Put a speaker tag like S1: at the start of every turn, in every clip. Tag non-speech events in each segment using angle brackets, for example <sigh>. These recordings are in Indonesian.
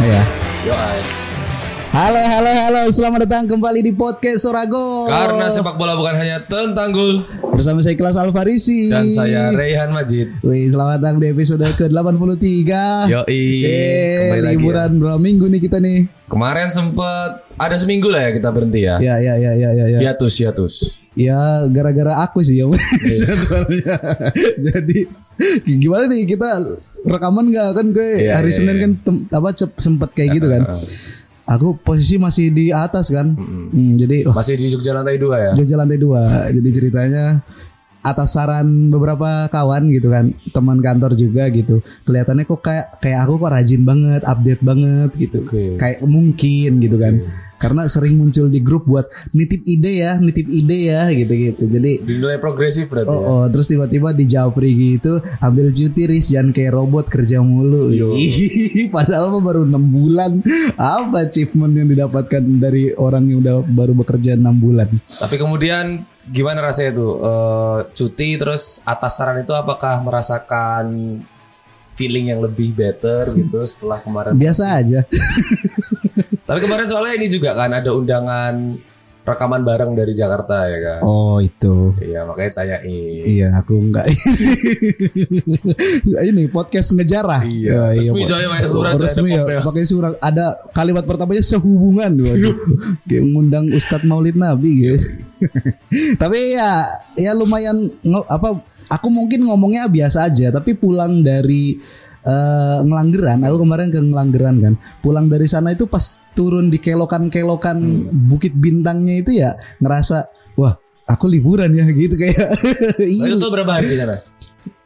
S1: Ya.
S2: Yo, ay.
S1: Halo, halo, halo. Selamat datang kembali di podcast Sorago.
S2: Karena sepak bola bukan hanya tentang gol
S1: bersama saya Kelas Alfarisi
S2: dan saya Rehan Majid.
S1: Wih, selamat datang di episode ke-83.
S2: Yo,
S1: Eh,
S2: kembali lagi. ya.
S1: Ah. liburan berapa minggu nih kita nih?
S2: Kemarin sempat ada seminggu lah ya kita berhenti ya.
S1: Ya, ya, ya, ya, ya, ya.
S2: Hiatus, hiatus.
S1: Ya gara-gara aku sih ya.
S2: Iya.
S1: Jadwalnya. Jadi gimana nih kita rekaman nggak kan gue
S2: Iya,
S1: hari
S2: iya,
S1: Senin
S2: iya.
S1: kan tem- apa cep- sempet kayak gitu kan. Aku posisi masih di atas kan. Hmm, jadi oh,
S2: Masih di Jogja lantai dua ya.
S1: Jogja lantai dua. Jadi ceritanya atas saran beberapa kawan gitu kan, teman kantor juga gitu. Kelihatannya kok kayak kayak aku kok rajin banget, update banget gitu.
S2: Oke.
S1: Kayak mungkin gitu kan. Karena sering muncul di grup buat nitip ide ya, nitip ide ya gitu-gitu. Jadi
S2: Dinilai progresif berarti.
S1: Oh,
S2: ya.
S1: oh, terus tiba-tiba di Japri gitu ambil cuti Riz jangan kayak robot kerja mulu.
S2: Yo.
S1: Ih, <laughs> Padahal mah baru enam bulan. Apa achievement yang didapatkan dari orang yang udah baru bekerja enam bulan?
S2: Tapi kemudian gimana rasanya tuh Eh, cuti terus atas saran itu apakah merasakan feeling yang lebih better gitu setelah kemarin
S1: Biasa aja.
S2: Tapi kemarin soalnya ini juga kan ada undangan rekaman bareng dari Jakarta ya kan.
S1: Oh itu.
S2: Iya makanya tanyain.
S1: Iya, aku <laughs> enggak. ini podcast ngejarah. Ya,
S2: Iya.
S1: Wah,
S2: Resmi,
S1: Ah, Pak.
S2: coy, pakai surat, ada
S1: Resmi ya,
S2: kopnya.
S1: pakai surat. Ada kalimat pertamanya sehubungan.
S2: <laughs>
S1: Waduh. Kayak ngundang Ustadz Maulid Nabi gitu. <laughs> tapi ya, ya lumayan ngo- apa? Aku mungkin ngomongnya biasa aja, tapi pulang dari eh, Ngelanggeran, aku kemarin ke Ngelanggeran kan. Pulang dari sana itu pas turun di kelokan-kelokan
S2: Hmm.
S1: Bukit Bintangnya itu ya ngerasa wah aku liburan ya gitu kayak. <laughs>
S2: Nah,
S1: Ih,
S2: itu tuh berapa hari di sana?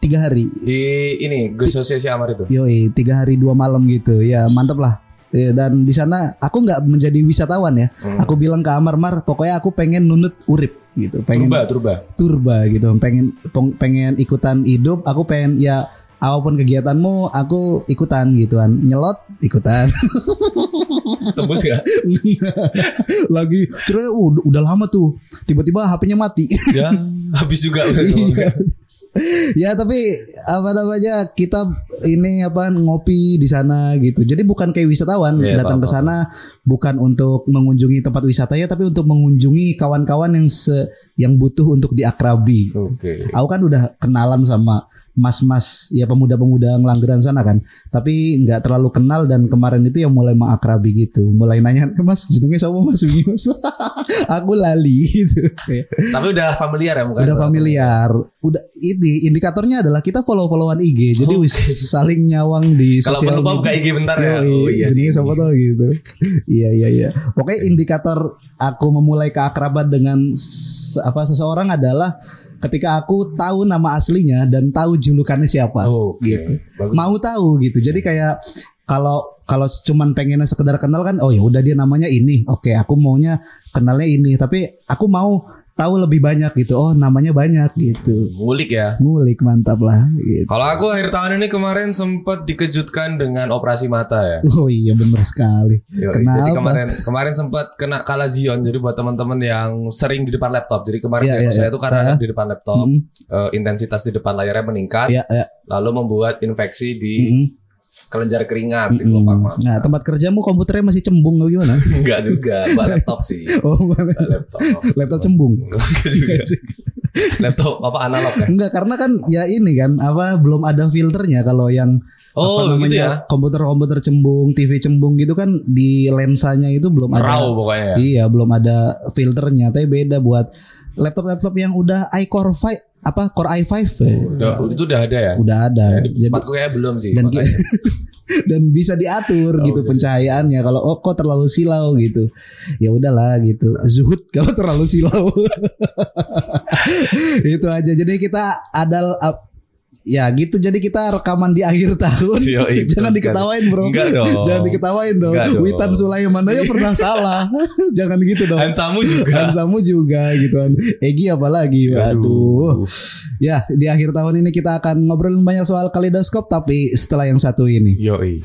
S1: tiga hari.
S2: Di ini Gus Sosiasi Amar itu.
S1: Yoi, tiga hari dua malam gitu. Ya mantep lah. Eh, Dan di sana aku nggak menjadi wisatawan ya.
S2: Hmm.
S1: Aku bilang ke Amar Mar, pokoknya aku pengen nunut urip gitu, pengen
S2: Turba, Turba.
S1: turba gitu, pengen peng- pengen ikutan hidup. Aku pengen ya apapun kegiatanmu, aku ikutan gituan. Nyelot ikutan. <laughs>
S2: Tembus gak?
S1: Lagi terus udah, udah lama tuh. Tiba-tiba HP-nya mati.
S2: ya, habis juga.
S1: Iya.
S2: Iya.
S1: ya tapi apa namanya kita ini apa ngopi di sana gitu. Jadi bukan kayak wisatawan
S2: Iya,
S1: datang ke
S2: paham,
S1: sana bukan untuk mengunjungi tempat wisatanya tapi untuk mengunjungi kawan-kawan yang se yang butuh untuk diakrabi.
S2: Oke.
S1: Aku kan udah kenalan sama mas-mas ya pemuda-pemuda ngelanggeran sana kan. Tapi nggak terlalu kenal dan kemarin itu yang mulai mengakrabi gitu. Mulai nanya, "Mas, jenenge siapa Mas?" <laughs> Gini, Mas?" Aku lali gitu. Kayak,
S2: Tapi udah familiar ya bukan?
S1: udah familiar udah ini indikatornya adalah kita follow followan IG jadi wis saling nyawang di
S2: Oh, iya. Kalau
S1: sosial
S2: lupa buka
S1: media.
S2: IG bentar ya.
S1: Yoi, jenisnya siapa
S2: ini.
S1: tahu gitu <laughs> iya iya iya pokoknya indikator aku memulai keakraban dengan se- apa seseorang adalah ketika aku tahu nama aslinya dan tahu julukannya siapa
S2: Oh, oke.
S1: Gitu.
S2: Bagus.
S1: mau tahu gitu. Jadi kayak kalau kalau cuman pengennya sekedar kenal kan oh ya udah dia namanya ini. Oke, aku maunya kenalnya ini, tapi aku mau tahu lebih banyak gitu. Oh, namanya banyak gitu.
S2: Ngulik ya.
S1: Ngulik mantap lah gitu.
S2: Kalau aku akhir tahun ini kemarin sempat dikejutkan dengan operasi mata ya.
S1: Oh iya bener sekali.
S2: Yo,
S1: Kenapa?
S2: Jadi kemarin kemarin sempat kena kalah Zion. Jadi buat teman-teman yang sering di depan laptop. Jadi kemarin
S1: Iya,
S2: demo
S1: iya,
S2: saya
S1: iya. Hmm.
S2: itu karena
S1: Hah?
S2: di depan laptop,
S1: Mm-mm.
S2: eh, intensitas di depan layarnya meningkat,
S1: Ya, ya.
S2: lalu membuat infeksi ah, di
S1: Mm-mm.
S2: kelenjar keringat di
S1: Mm-mm.
S2: kelopak mata. <laughs>
S1: Nah, tempat kerjamu komputernya masih cembung atau gimana?
S2: Enggak juga, buat laptop sih.
S1: Oh, <laughs>
S2: Buat laptop.
S1: laptop cembung.
S2: Enggak juga. laptop apa analog kan?
S1: Enggak karena kan ya ini kan apa belum ada filternya kalau yang
S2: Oh,
S1: apa
S2: begitu
S1: namanya,
S2: ya.
S1: komputer-komputer cembung, TV cembung gitu kan di lensanya itu belum
S2: Raw
S1: ada.
S2: pokoknya. ya.
S1: Iya, belum ada filternya. Tapi beda buat laptop-laptop yang udah iCore 5 apa Core i5 ya.
S2: Udah, itu udah ada ya.
S1: udah ada.
S2: Jadi,
S1: Jadi
S2: Tempatku kayaknya belum sih.
S1: dan
S2: makanya.
S1: <laughs> dan bisa diatur
S2: Oh,
S1: gitu
S2: iya.
S1: pencahayaannya kalau oh kok terlalu silau gitu ya udahlah gitu
S2: Nah.
S1: zuhud <laughs> kalau terlalu silau <laughs> itu aja jadi kita ada ap- ya gitu jadi kita rekaman di akhir tahun <laughs>
S2: Yoi, betul
S1: jangan
S2: sekali.
S1: diketawain bro
S2: Enggak dong.
S1: jangan diketawain dong
S2: Enggak dong.
S1: Witan Sulaiman aja pernah salah <laughs> jangan gitu dong
S2: Hansamu juga.
S1: Hansamu juga gitu kan Egi apalagi Waduh
S2: Aduh.
S1: Ya di akhir tahun ini kita akan ngobrolin banyak soal kaleidoskop Tapi setelah yang satu ini
S2: Yoi.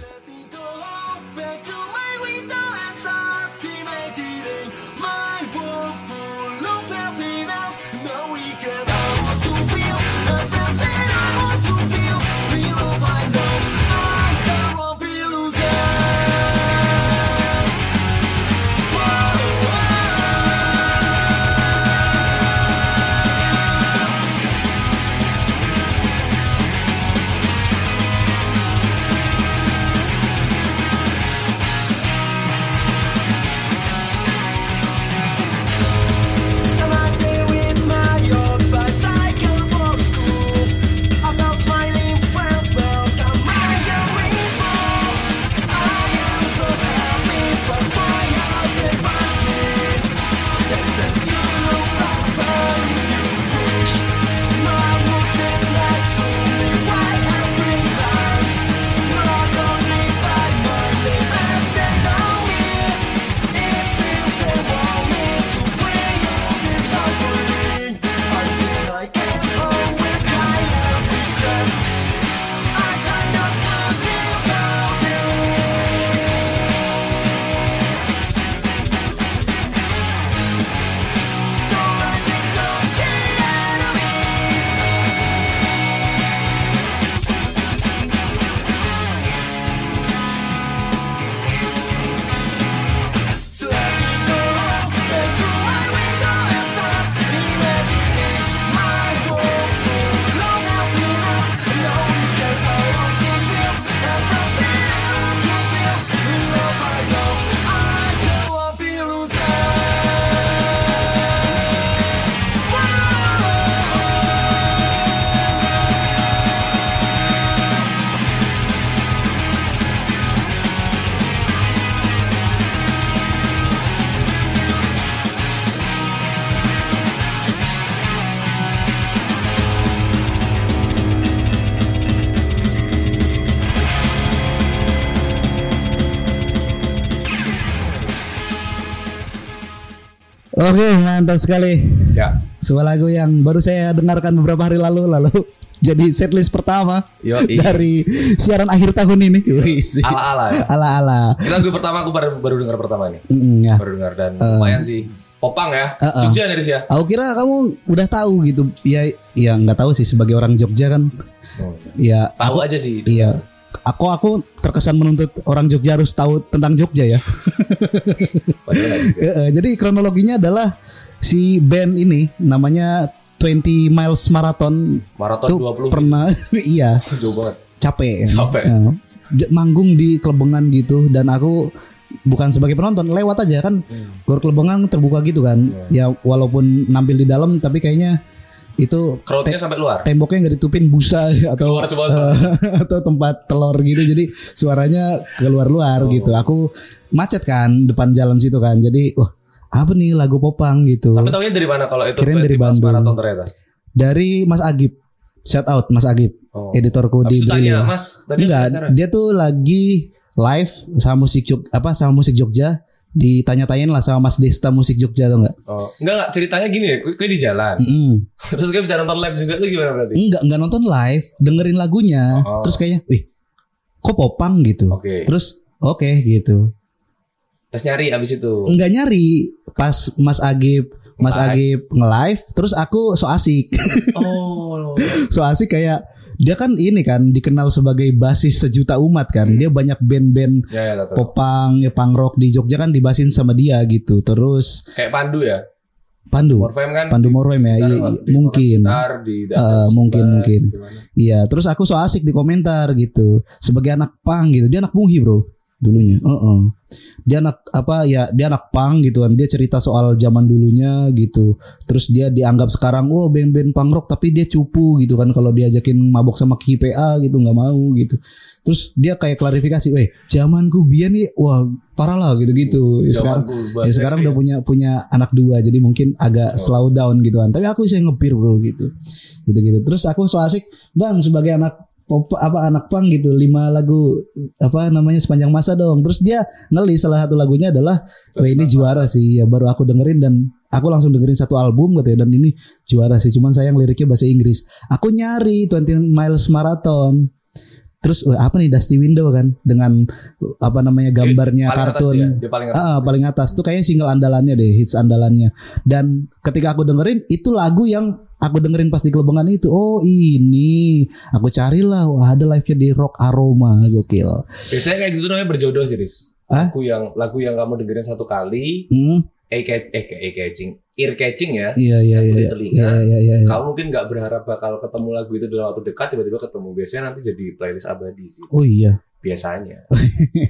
S3: Go off back to my window and start imitating my world full of happiness. Now we can I want to feel everything I want to feel. Feel all I know. I don't want to be losing. Start my day with my own bicycle for school. I saw smiling friends welcome my uniform. I am so happy, but why are they watching? They said you look proper if you wish. No, I wasn't like fully white every night. Not only by Monday, I said no It seems they want me to bring all this suffering. I think I can home with kind of regret. I try not to think about it. So I think of the enemy. So let me go and to my window and start imagining my world full of happiness. Now we can I want to feel everything I want to feel. In love I know I don't want to be losing. Whoa.
S1: Oke, mantap sekali.
S2: Ya.
S1: Sebuah lagu yang baru saya dengarkan beberapa hari lalu lalu <laughs> jadi setlist pertama
S2: Yoi.
S1: dari siaran akhir tahun ini. Wis.
S2: Ala-ala ya.
S1: Ala-ala.
S2: Ini lagu pertama aku baru baru dengar pertama nih.
S1: Mm, ya.
S2: Baru dengar dan lumayan sih. Popang ya.
S1: Uh-uh.
S2: Jogja dari sih ya.
S1: Aku kira kamu udah tahu gitu. Ya ya nggak tahu sih sebagai orang Jogja kan.
S2: Hmm.
S1: Ya
S2: Tahu aja sih.
S1: iya. Aku aku terkesan menuntut orang Jogja harus tahu tentang Jogja ya.
S2: Padahal nggak juga.
S1: Eh, eh, jadi kronologinya adalah si band ini namanya 20 Miles Marathon
S2: Maraton
S1: tuh
S2: 20
S1: pernah <laughs> iya
S2: jauh banget.
S1: capek.
S2: Oh. Capek.
S1: Ya. J- manggung di Klebengan gitu dan aku bukan sebagai penonton lewat aja kan gor Klebengan terbuka gitu kan ya walaupun nampil di dalam tapi kayaknya itu
S2: Crowdnya sampai luar.
S1: temboknya nggak ditupin busa <laughs> atau
S2: Keluar semua suara.
S1: eh, <laughs> atau tempat telur gitu jadi suaranya keluar-luar
S2: Oh.
S1: gitu aku macet kan depan jalan situ kan jadi wah apa nih lagu popang gitu
S2: Tapi tahunya dari mana kalau itu
S1: Kirain dari
S2: Mas
S1: Bandung.
S2: Maraton ternyata.
S1: dari Mas Agib shout out Mas Agib
S2: Oh.
S1: editorku
S2: Habis
S1: di
S2: itu
S1: Brilio.
S2: tanya ya, Mas tadi
S1: Iya, Enggak,
S2: acara.
S1: dia tuh lagi live sama musik Jog, apa sama musik Jogja ditanya-tanyain lah sama Mas Desta musik Jogja atau enggak?
S2: Oh, enggak enggak ceritanya gini ya, gue di jalan.
S1: Mm-mm.
S2: <laughs> Terus gue bisa nonton live juga itu gimana berarti?
S1: Enggak, enggak nonton live, dengerin lagunya,
S2: Oh.
S1: terus kayaknya, wih, kok popang gitu.
S2: Oke.
S1: Terus oke gitu.
S2: Terus nyari abis itu.
S1: Enggak nyari pas Mas Agib Mas
S2: Live.
S1: Agib nge-live terus aku so asik.
S2: Oh.
S1: <laughs> so asik kayak dia kan ini kan dikenal sebagai basis sejuta umat kan. Dia banyak band-band
S2: ya ya tahu.
S1: popang, ya, punk rock di Jogja kan dibasin sama dia gitu. Terus
S2: Kayak Pandu ya.
S1: Pandu.
S2: Morfem kan
S1: Pandu Morwem ya.
S2: Gitar,
S1: Iya,
S2: waktu
S1: iya, mungkin.
S2: gitar, di
S1: Eh, mungkin,
S2: bass,
S1: mungkin.
S2: gimana.
S1: Iya, terus aku so asik di komentar gitu. Sebagai anak pang gitu. Dia anak munghi, Bro. Dulunya. Heeh. Dia anak apa ya, dia anak pang gitu kan. Dia cerita soal zaman dulunya gitu. Terus dia dianggap sekarang oh band-band punk rock tapi dia cupu gitu kan kalau diajakin mabok sama KPA gitu nggak mau gitu. Terus dia kayak klarifikasi, "Weh, zamanku biyen nih wah parah lah gitu-gitu."
S2: Zaman
S1: Sekarang
S2: gua
S1: Ya
S2: bahasa
S1: sekarang
S2: Inggris.
S1: udah punya punya anak dua jadi mungkin agak
S2: Oh.
S1: slow down gitu kan. Tapi aku sih ngepir bro gitu. Gitu-gitu. Terus aku so asik, Bang sebagai anak pop apa anak pang gitu lima lagu apa namanya sepanjang masa dong. Terus dia ngelis salah satu lagunya adalah Wah ini juara sih ya baru aku dengerin dan aku langsung dengerin satu album katanya dan ini juara sih cuman sayang liriknya bahasa Inggris. Aku nyari 20 miles marathon. Terus wah, apa nih Dusty Window kan dengan apa namanya gambarnya
S2: Paling atas
S1: kartun
S2: dia, dia paling atas.
S1: Ah, paling atas tuh kayaknya single andalannya deh, hits andalannya. Dan ketika aku dengerin itu lagu yang aku dengerin pas di gelembungan itu. Oh, ini. Aku carilah, wah ada live-nya di Rock Aroma, gokil.
S2: Biasanya kayak gitu namanya berjodoh sih, Riz.
S1: Hah?
S2: Lagu yang lagu yang kamu dengerin satu kali,
S1: Hmm,
S2: eh ke- eh ke- eh, catching, ear catching ya.
S1: iya iya iya.
S2: Yang beli telinga.
S1: Iya iya iya. iya.
S2: Kamu mungkin nggak berharap bakal ketemu lagu itu dalam waktu dekat, tiba-tiba ketemu. Biasanya nanti jadi playlist abadi sih.
S1: Oh iya, <laughs>
S2: Biasanya.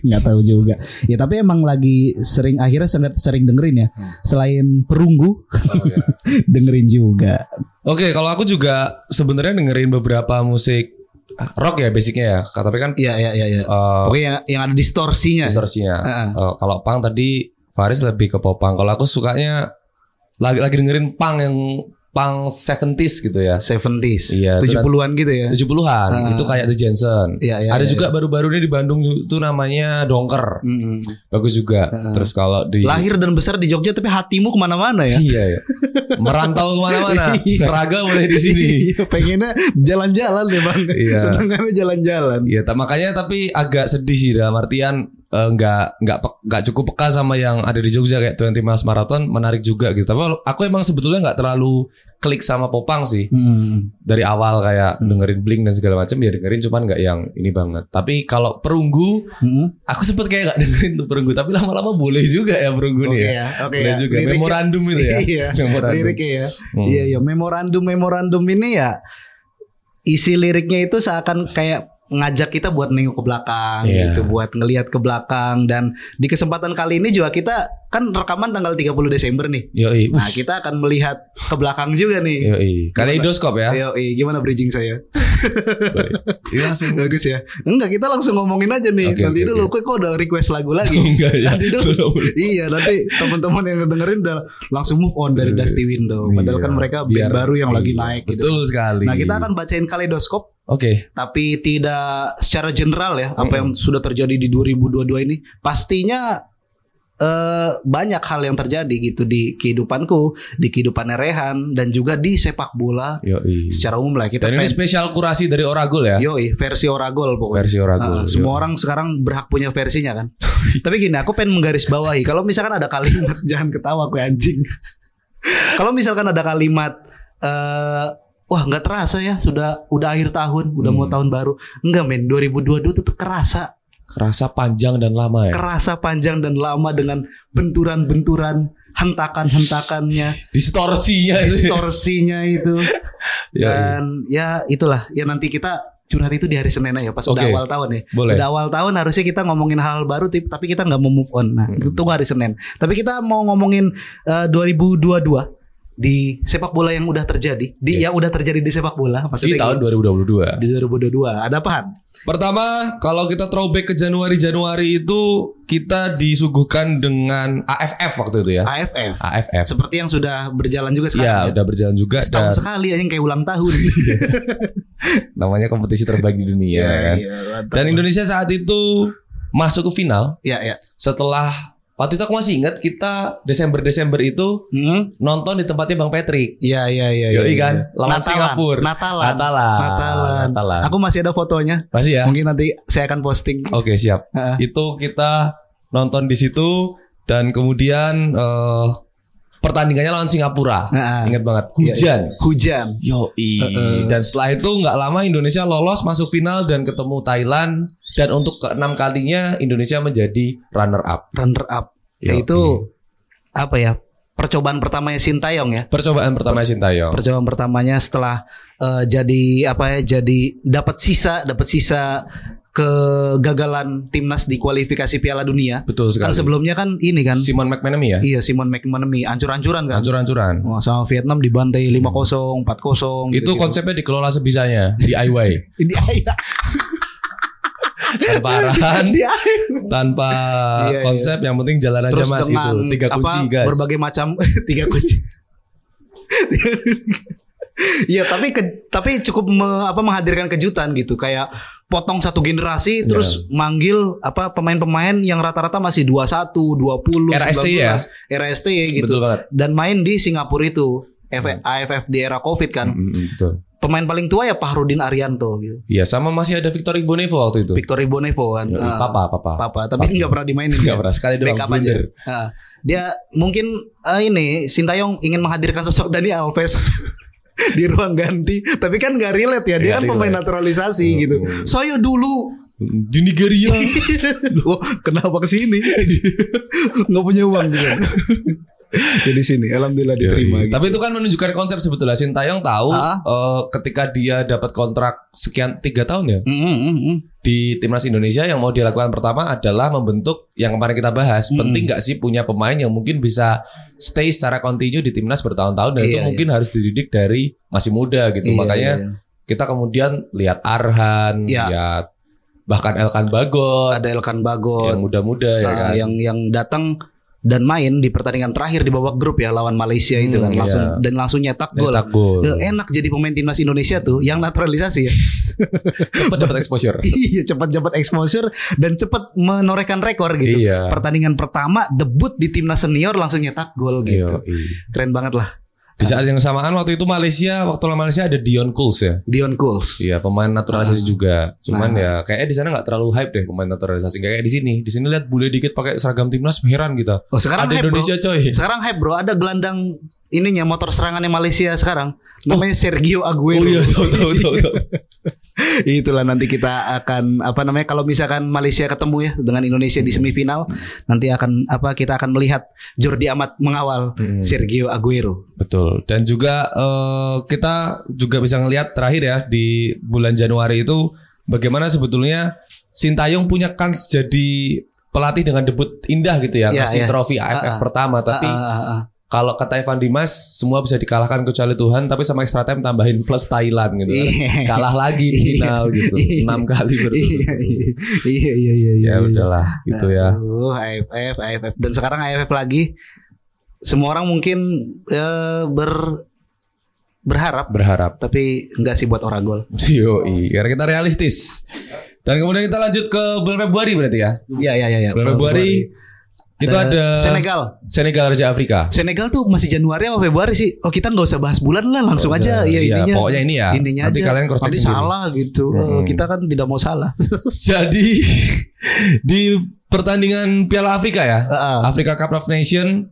S1: nggak tahu juga. Ya tapi emang lagi sering akhirnya sangat sering dengerin ya. Selain perunggu, <laughs>
S2: Oh, ya.
S1: dengerin juga.
S2: <laughs> Oke, kalau aku juga sebenarnya dengerin beberapa musik rock ya basicnya ya. Tapi kan
S1: Iya iya iya. iya.
S2: eh,
S1: Pokoknya yang, yang ada
S2: ya?
S1: distorsinya.
S2: distorsinya.
S1: Heeh.
S2: Eh, kalau pang tadi Faris lebih ke pop punk. Kalau aku sukanya lagi lagi dengerin punk yang punk 70s gitu ya.
S1: 70s,
S2: Iya, itu
S1: 70-an gitu ya.
S2: 70-an
S1: Ah.
S2: itu kayak The Jensen.
S1: Iya, iya,
S2: Ada
S1: iya,
S2: juga baru-baru ini di Bandung itu namanya Dongker.
S1: Mm-mm.
S2: Bagus juga.
S1: Ah.
S2: Terus kalau di
S1: lahir dan besar di Jogja tapi hatimu kemana-mana ya.
S2: Iya ya. Merantau kemana-mana.
S1: <laughs> Iya.
S2: Raga mulai di
S1: <laughs>
S2: sini.
S1: Iya, pengennya jalan-jalan deh bang.
S2: Iya.
S1: Senengannya jalan-jalan.
S2: Iya, ta- makanya tapi agak sedih sih dalam artian eh, nggak nggak pe- nggak cukup peka sama yang ada di Jogja kayak 20 Miles Marathon menarik juga gitu. Tapi kalau- aku emang sebetulnya nggak terlalu klik sama popang sih. dari awal kayak
S1: Hmm.
S2: dengerin Blink dan segala macam ya dengerin cuman nggak yang ini banget. Tapi kalau perunggu
S1: Mm-mm.
S2: aku sempet kayak nggak dengerin tuh perunggu tapi lama-lama boleh juga ya perunggu nih ya.
S1: oke
S2: Boleh juga
S1: Liriknya-
S2: memorandum itu ya.
S1: <laughs> Iya,
S2: Memorandum.
S1: liriknya ya.
S2: Hmm.
S1: Iya, iya. Memorandum, memorandum ini ya isi liriknya itu seakan kayak ngajak kita buat nengok ke belakang
S2: Iya.
S1: gitu, buat ngelihat ke belakang dan di kesempatan kali ini juga kita kan rekaman tanggal 30 Desember nih.
S2: Yoi.
S1: Nah, kita akan melihat ke belakang juga nih.
S2: Yoi. Kaleidoskop ya.
S1: Ayo, eh, gimana bridging saya? <laughs>
S2: Boleh. Ini langsung
S1: Bagus ya. Enggak, kita langsung ngomongin aja nih.
S2: Oke,
S1: nanti
S2: oke,
S1: dulu kok kok udah request lagu
S2: <laughs>
S1: lagi.
S2: <laughs> enggak ya.
S1: Tadi dong.
S2: Belum.
S1: iya, nanti teman-teman yang dengerin udah langsung move on dari
S2: Iya.
S1: Dusty Window. Padahal kan
S2: Iya.
S1: mereka band
S2: Biar-
S1: baru yang lagi
S2: iya,
S1: naik gitu.
S2: Betul sekali.
S1: Nah, kita akan bacain kaleidoskop
S2: Oke.
S1: tapi tidak secara general ya apa yang sudah terjadi di 2022 ini. Pastinya eh banyak hal yang terjadi gitu di kehidupanku, di kehidupannya Rehan dan juga di sepak bola
S2: Yoi.
S1: secara umum lah kita
S2: Dan ini
S1: pengen
S2: spesial kurasi dari Oragol ya.
S1: Yoi, versi Oragol pokoknya.
S2: Versi
S1: Heeh,
S2: Oragol.
S1: semua
S2: Yoi.
S1: orang sekarang berhak punya versinya kan. <laughs> Tapi gini, aku pengen menggarisbawahi. Kalau misalkan ada kalimat, <laughs> jangan ketawa gue anjing. Kalau misalkan ada kalimat, eh wah nggak terasa ya, sudah udah akhir tahun, udah
S2: Hmm.
S1: mau tahun baru. Enggak men, 2022 itu tuh kerasa,
S2: kerasa panjang dan lama ya.
S1: kerasa panjang dan lama dengan benturan-benturan, hentakan-hentakannya,
S2: <laughs> Distorsinya itu.
S1: distorsinya itu.
S2: Yoi.
S1: Dan ya itulah, ya nanti kita curhat itu di hari Senin aja pas udah
S2: Oke.
S1: awal tahun ya.
S2: Boleh.
S1: Udah awal tahun harusnya kita ngomongin hal-hal baru tip- tapi kita nggak mau move on. Nah,
S2: Hmm.
S1: tunggu hari Senin. Tapi kita mau ngomongin eh, 2022 di sepak bola yang udah terjadi, di
S2: Yes.
S1: yang udah terjadi di sepak bola
S2: Di
S1: maksudnya
S2: tahun 2022.
S1: di 2022. Ada apaan?
S2: Pertama, kalau kita throwback ke Januari-Januari itu kita disuguhkan dengan AFF waktu itu ya.
S1: AFF.
S2: AFF.
S1: Seperti yang sudah berjalan juga
S2: Ya,
S1: sekarang.
S2: udah berjalan juga
S1: Setahun
S2: dan
S1: sekali aja yang kayak ulang tahun.
S2: namanya kompetisi terbaik di dunia. kan?
S1: iya, mantap.
S2: Dan Indonesia saat itu masuk ke final
S1: ya, ya.
S2: setelah waktu itu aku masih ingat kita Desember-Desember itu
S1: Hmm?
S2: nonton di tempatnya Bang Patrick.
S1: Iya iya iya. iya,
S2: Yoi
S1: iya.
S2: kan? Lawan Singapura.
S1: Natalan.
S2: Natalan.
S1: Natalan.
S2: Natalan.
S1: Aku masih ada fotonya.
S2: Masih ya?
S1: Mungkin nanti saya akan posting.
S2: Oke, siap.
S1: Heeh.
S2: Itu kita nonton di situ dan kemudian eh, pertandingannya lawan Singapura.
S1: Heeh.
S2: Ingat banget.
S1: Iya, iya.
S2: Hujan.
S1: Hujan.
S2: Yoi.
S1: Heeh.
S2: Dan setelah itu nggak lama Indonesia lolos masuk final dan ketemu Thailand dan untuk keenam kalinya Indonesia menjadi runner up.
S1: Runner up.
S2: Yoi.
S1: Yaitu apa ya? percobaan pertamanya Sintayong ya.
S2: Percobaan pertama Sintayong.
S1: Percobaan pertamanya setelah eh, jadi apa ya? Jadi dapat sisa, dapat sisa kegagalan timnas di kualifikasi Piala Dunia.
S2: Betul
S1: Kan
S2: sekali.
S1: sebelumnya kan ini kan.
S2: Simon McManamy ya.
S1: iya, Simon McManamy ancur-ancuran kan.
S2: Hancur-hancuran.
S1: Wah, sama Vietnam dibantai 5-0, 4-0
S2: Itu
S1: gitu-gitu. Iya,
S2: konsepnya dikelola sebisanya
S1: <laughs>
S2: DIY.
S1: Ini
S2: Tanpa arahan,
S1: Dia-
S2: tanpa
S1: Iya, iya.
S2: konsep yang penting jalan aja
S1: terus
S2: Mas gitu.
S1: dengan
S2: Tiga kunci
S1: apa,
S2: guys.
S1: berbagai macam <laughs> tiga kunci. Iya tapi ke- tapi cukup me- apa menghadirkan kejutan gitu kayak potong satu generasi
S2: Iya.
S1: terus manggil apa pemain-pemain yang rata-rata masih 21, 20,
S2: RST
S1: 19,
S2: ya?
S1: RST gitu.
S2: Betul banget.
S1: Dan main di Singapura itu F- AFF di era Covid kan.
S2: Mm, mm, betul.
S1: Pemain paling tua ya Pahrudin Arianto gitu.
S2: Iya, sama masih ada Victor Ibonevo waktu itu.
S1: Victor Bonevo kan.
S2: Yoi,
S1: Ah,
S2: papa, papa.
S1: Papa, tapi nggak pernah dimainin. ya?
S2: Nggak pernah, sekali doang,
S1: Backup aja.
S2: blunder.
S1: Ah, dia mungkin eh, ini Sintayong ingin menghadirkan sosok Dani Alves <laughs> di ruang ganti, tapi kan nggak relate ya. Dia
S2: Nggak
S1: kan pemain
S2: relate. Hmm.
S1: naturalisasi gitu. Saya dulu <laughs>
S2: Di Nigeria.
S1: Loh, kenapa ke sini? <laughs> nggak punya uang juga. <laughs> Jadi sini, alhamdulillah <laughs> diterima. gitu.
S2: Tapi itu kan menunjukkan konsep sebetulnya Sintayong tahu
S1: Ah.
S2: eh, ketika dia dapat kontrak sekian tiga tahun ya
S1: Mm, mm, mm, mm.
S2: di timnas Indonesia yang mau dilakukan pertama adalah membentuk yang kemarin kita bahas
S1: Hmm.
S2: penting nggak sih punya pemain yang mungkin bisa stay secara kontinu di timnas bertahun-tahun dan
S1: Iya,
S2: itu
S1: iya.
S2: mungkin harus dididik dari masih muda
S1: Iya,
S2: gitu makanya
S1: iya.
S2: kita kemudian lihat Arhan
S1: Iya.
S2: lihat bahkan Elkan Bagot
S1: ada Elkan
S2: yang
S1: Bagot
S2: muda-muda ya
S1: ah,
S2: kan
S1: yang yang datang dan main di pertandingan terakhir di babak grup ya lawan Malaysia itu
S2: Hmm,
S1: kan langsung
S2: iya.
S1: dan langsung nyetak gol.
S2: Nyetak gol
S1: Eh, enak jadi pemain timnas Indonesia tuh yang naturalisasi ya. <laughs>
S2: Cepat dapat <laughs> exposure
S1: iya, cepat dapat exposure dan cepat menorehkan rekor gitu.
S2: Iya.
S1: Pertandingan pertama debut di timnas senior langsung nyetak
S2: Iya.
S1: gol gitu.
S2: Yoi.
S1: Keren banget lah
S2: Di saat yang samaan waktu itu Malaysia waktu lawan Malaysia ada Dion Kuls ya.
S1: Dion Kuls.
S2: Iya pemain naturalisasi juga.
S1: Ah.
S2: Cuman
S1: Nah.
S2: ya kayaknya di sana nggak terlalu hype deh pemain naturalisasi. Nggak Kayak di sini. Di sini lihat bule dikit pakai seragam timnas heran kita.
S1: Oh, sekarang
S2: ada
S1: hype,
S2: Indonesia
S1: bro. <laughs>
S2: coy.
S1: Sekarang hype bro, ada gelandang ininya motor serangannya Malaysia sekarang. Namanya Sergio Aguero.
S2: Oh iya tahu tahu tahu. tahu.
S1: <laughs> Itulah nanti kita akan apa namanya kalau misalkan Malaysia ketemu ya dengan Indonesia di semifinal
S2: Hmm.
S1: nanti akan apa kita akan melihat Jordi Amat mengawal
S2: Hmm.
S1: Sergio Aguero.
S2: Betul. Dan juga eh, kita juga bisa ngelihat terakhir ya di bulan Januari itu bagaimana sebetulnya Sintayong punya kans jadi pelatih dengan debut indah gitu ya,
S1: Iya,
S2: kasih
S1: iya.
S2: trofi AFF
S1: Ah, ah.
S2: pertama tapi
S1: Ah, ah, ah, ah.
S2: Kalau kata Evan Dimas, semua bisa dikalahkan kecuali Tuhan, tapi sama extra time tambahin plus Thailand gitu. kan.
S1: Iya.
S2: Kalah lagi di final gitu.
S1: Iya.
S2: enam kali
S1: Iya
S2: berturut-turut.
S1: iya iya iya. iya.
S2: Ya udahlah, gitu
S1: Ah.
S2: ya.
S1: Aduh, AFF AFF dan sekarang AFF lagi semua orang mungkin eh, ber berharap
S2: Berharap. <laughs>
S1: tapi enggak sih buat Oragol.
S2: COI, karena kita realistis. Dan kemudian kita lanjut ke bulan Februari berarti ya.
S1: Iya iya iya ya.
S2: Bulan Februari itu ada
S1: Senegal.
S2: Senegal Raja Afrika.
S1: Senegal tuh masih Januari atau Februari sih. Oh kita nggak usah bahas bulan lah langsung aja
S2: Nggak usah.
S1: ya
S2: Iya,
S1: ininya.
S2: pokoknya ini ya.
S1: Ininya
S2: Nanti
S1: aja.
S2: kalian cross
S1: Nanti
S2: checking dulu.
S1: salah gitu. Eh,
S2: Hmm.
S1: kita kan tidak mau
S2: <laughs>
S1: salah.
S2: <laughs> Jadi <laughs> di pertandingan Piala Afrika ya,
S1: Heeh.
S2: Afrika Cup of Nation,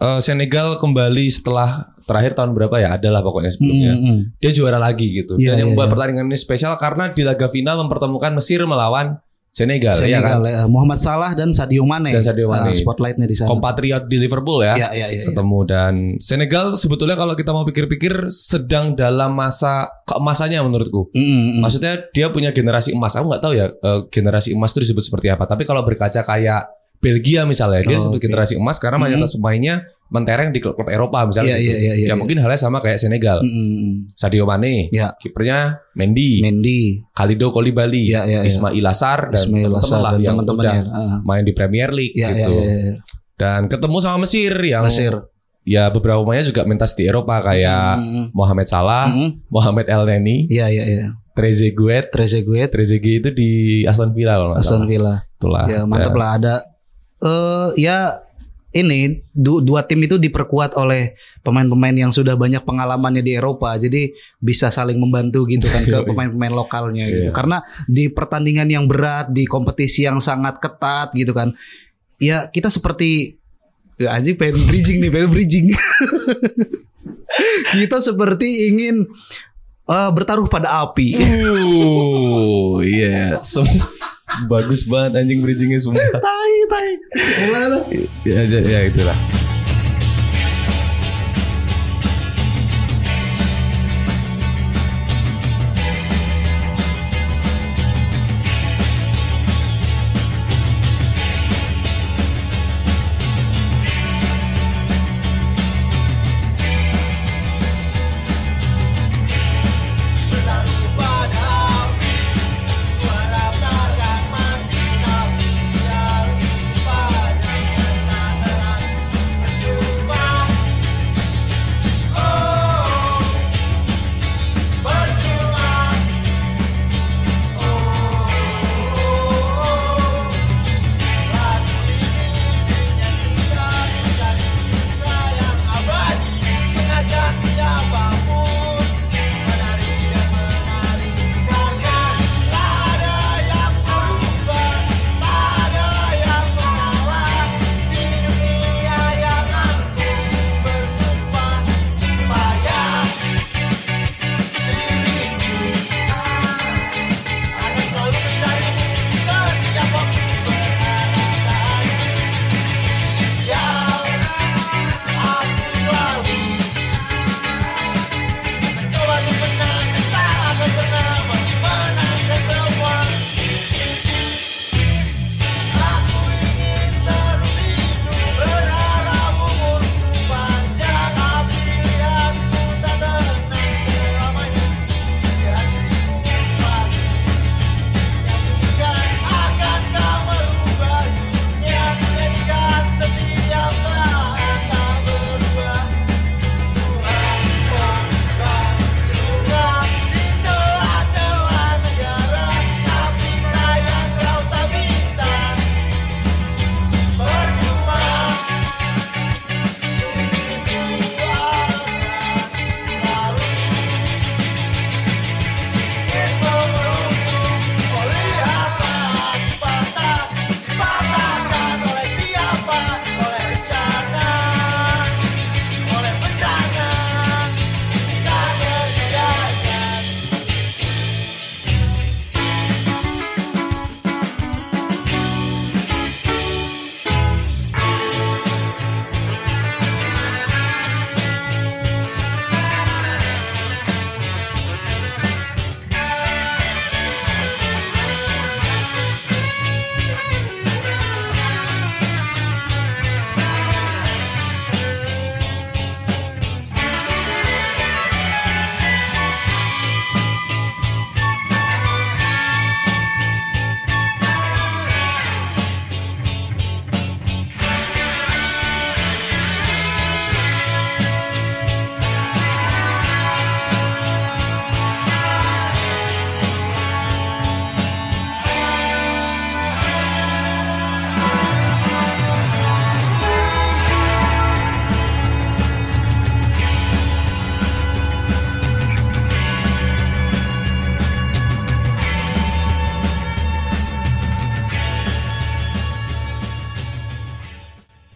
S2: eh, Senegal kembali setelah terakhir tahun berapa ya? Adalah pokoknya sebelumnya.
S1: Hmm, hmm.
S2: Dia juara lagi gitu.
S1: Iya,
S2: Dan yang
S1: iya,
S2: membuat
S1: iya.
S2: pertandingan ini spesial karena di laga final mempertemukan Mesir melawan Senegal, ya kan?
S1: Senegal, eh, Muhammad Salah dan Sadio Mane.
S2: Dan Sadio
S1: Ah,
S2: Mane.
S1: spotlightnya di sana.
S2: Kompatriot di Liverpool ya.
S1: Ya, ya, ya, ya.
S2: ketemu dan Senegal sebetulnya kalau kita mau pikir-pikir sedang dalam masa keemasannya menurutku.
S1: Hmm, hmm, hmm.
S2: Maksudnya dia punya generasi emas. Aku nggak tahu ya eh, generasi emas itu disebut seperti apa. Tapi kalau berkaca kayak Belgia misalnya,
S1: Oh,
S2: dia disebut
S1: oke.
S2: generasi emas karena
S1: Hmm.
S2: mayoritas pemainnya mentereng di klub-klub Eropa misalnya.
S1: Iya,
S2: gitu.
S1: iya, iya, iya,
S2: ya
S1: iya.
S2: mungkin halnya sama kayak Senegal.
S1: Hmm, hmm, hmm.
S2: Sadio Mane,
S1: Ya.
S2: kipernya Mendy,
S1: Mendy,
S2: Khalidou Koulibaly,
S1: Iya, iya, iya.
S2: Ismail Assar dan
S1: Ismail
S2: teman-teman
S1: Assar
S2: lah
S1: dan
S2: yang
S1: teman-temannya.
S2: udah
S1: Ah.
S2: main di Premier League
S1: Ya, ya,
S2: gitu.
S1: ya, ya.
S2: Dan ketemu sama Mesir yang
S1: Mesir.
S2: ya beberapa pemainnya juga mentas di Eropa kayak
S1: Hmm,
S2: Mohamed Salah,
S1: hmm.
S2: Mohamed El Neni,
S1: Iya, iya, iya.
S2: Trezeguet,
S1: Trezeguet,
S2: Trezeguet itu di Aston Villa kalau nggak salah.
S1: Aston Villa.
S2: Itulah.
S1: ya mantap
S2: Dan
S1: lah ada eh ya ini du- dua tim itu diperkuat oleh pemain-pemain yang sudah banyak pengalamannya di Eropa jadi bisa saling membantu gitu kan ke pemain-pemain lokalnya gitu
S2: Iya.
S1: karena di pertandingan yang berat di kompetisi yang sangat ketat gitu kan ya kita seperti ya anjing pengen bridging nih pengen bridging <laughs> kita seperti ingin eh, bertaruh pada api
S2: Uh, iya. Sem- <laughs> Bagus banget anjing bridgingnya sumpah.
S1: tai tai Mulai lah.
S2: ya, ya, ya itulah.
S3: Thank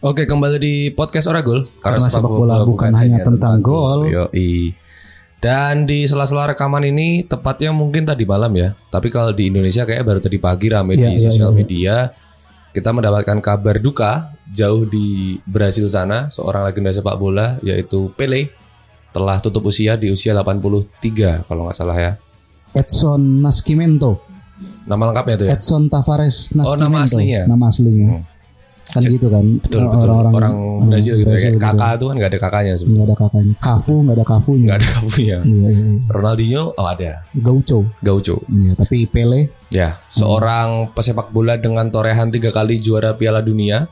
S2: Oke kembali di podcast Oragol
S4: Karena sepak bola bukan hanya tentang gol.
S2: Yoi. Dan di sela-sela rekaman ini tepatnya mungkin tadi malam ya. Tapi kalau di Indonesia kayak baru tadi pagi rame
S4: Iya,
S2: di
S4: iya,
S2: sosial
S4: iya.
S2: media. Kita mendapatkan kabar duka jauh di Brasil sana seorang legenda sepak bola yaitu Pele telah tutup usia di usia 83 kalau nggak salah ya.
S1: Edson Nascimento,
S2: Nama lengkapnya tuh ya.
S4: Eh,
S1: Edson Tavares
S2: Oh,
S1: Nascimento.
S2: nama aslinya.
S1: Nama aslinya.
S2: Hmm.
S1: Kan gitu kan.
S2: Betul betul orang, Brazil gitu ya.
S1: Brazil
S2: Kayak kakak tuh kan nggak ada kakaknya sebenarnya.
S1: Nggak ada kakaknya. Kafu nggak ada kafunya.
S2: Nggak ada kabunya.
S4: Hmm.
S1: Iya, iya, iya.
S2: Ronaldinho oh ada.
S1: Gaucho.
S2: Gaucho.
S1: Iya, tapi Pele
S2: Ya, seorang pesepak bola dengan torehan tiga kali juara Piala Dunia.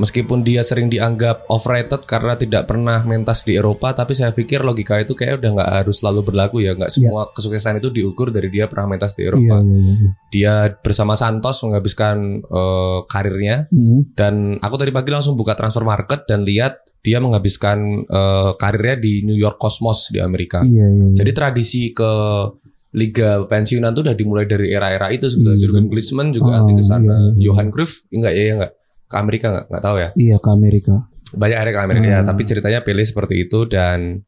S2: Meskipun dia sering dianggap overrated karena tidak pernah mentas di Eropa, tapi saya pikir logika itu kayak udah nggak harus selalu berlaku ya. Nggak semua kesuksesan itu diukur dari dia pernah mentas di
S1: iya
S2: Eropa.
S1: iya iya. iya.
S2: Dia bersama Santos menghabiskan eh, karirnya
S1: Hmm.
S2: dan aku tadi pagi langsung buka transfer market dan lihat dia menghabiskan eh, karirnya di New York Cosmos di Amerika.
S1: Iya iya. iya.
S2: Jadi tradisi ke liga pensiunan tuh udah dimulai dari era-era itu
S1: Iya,
S2: sebetulnya. Jurgen
S1: dan-
S2: Klinsmann juga
S1: Ah,
S2: anti ke sana.
S1: iya, iya.
S2: Johan Cruyff enggak ya ya enggak ke Amerika enggak enggak tahu ya.
S1: Iya ke Amerika.
S2: Banyak area ke Amerika ya,
S1: Ah.
S2: tapi ceritanya Pele seperti itu dan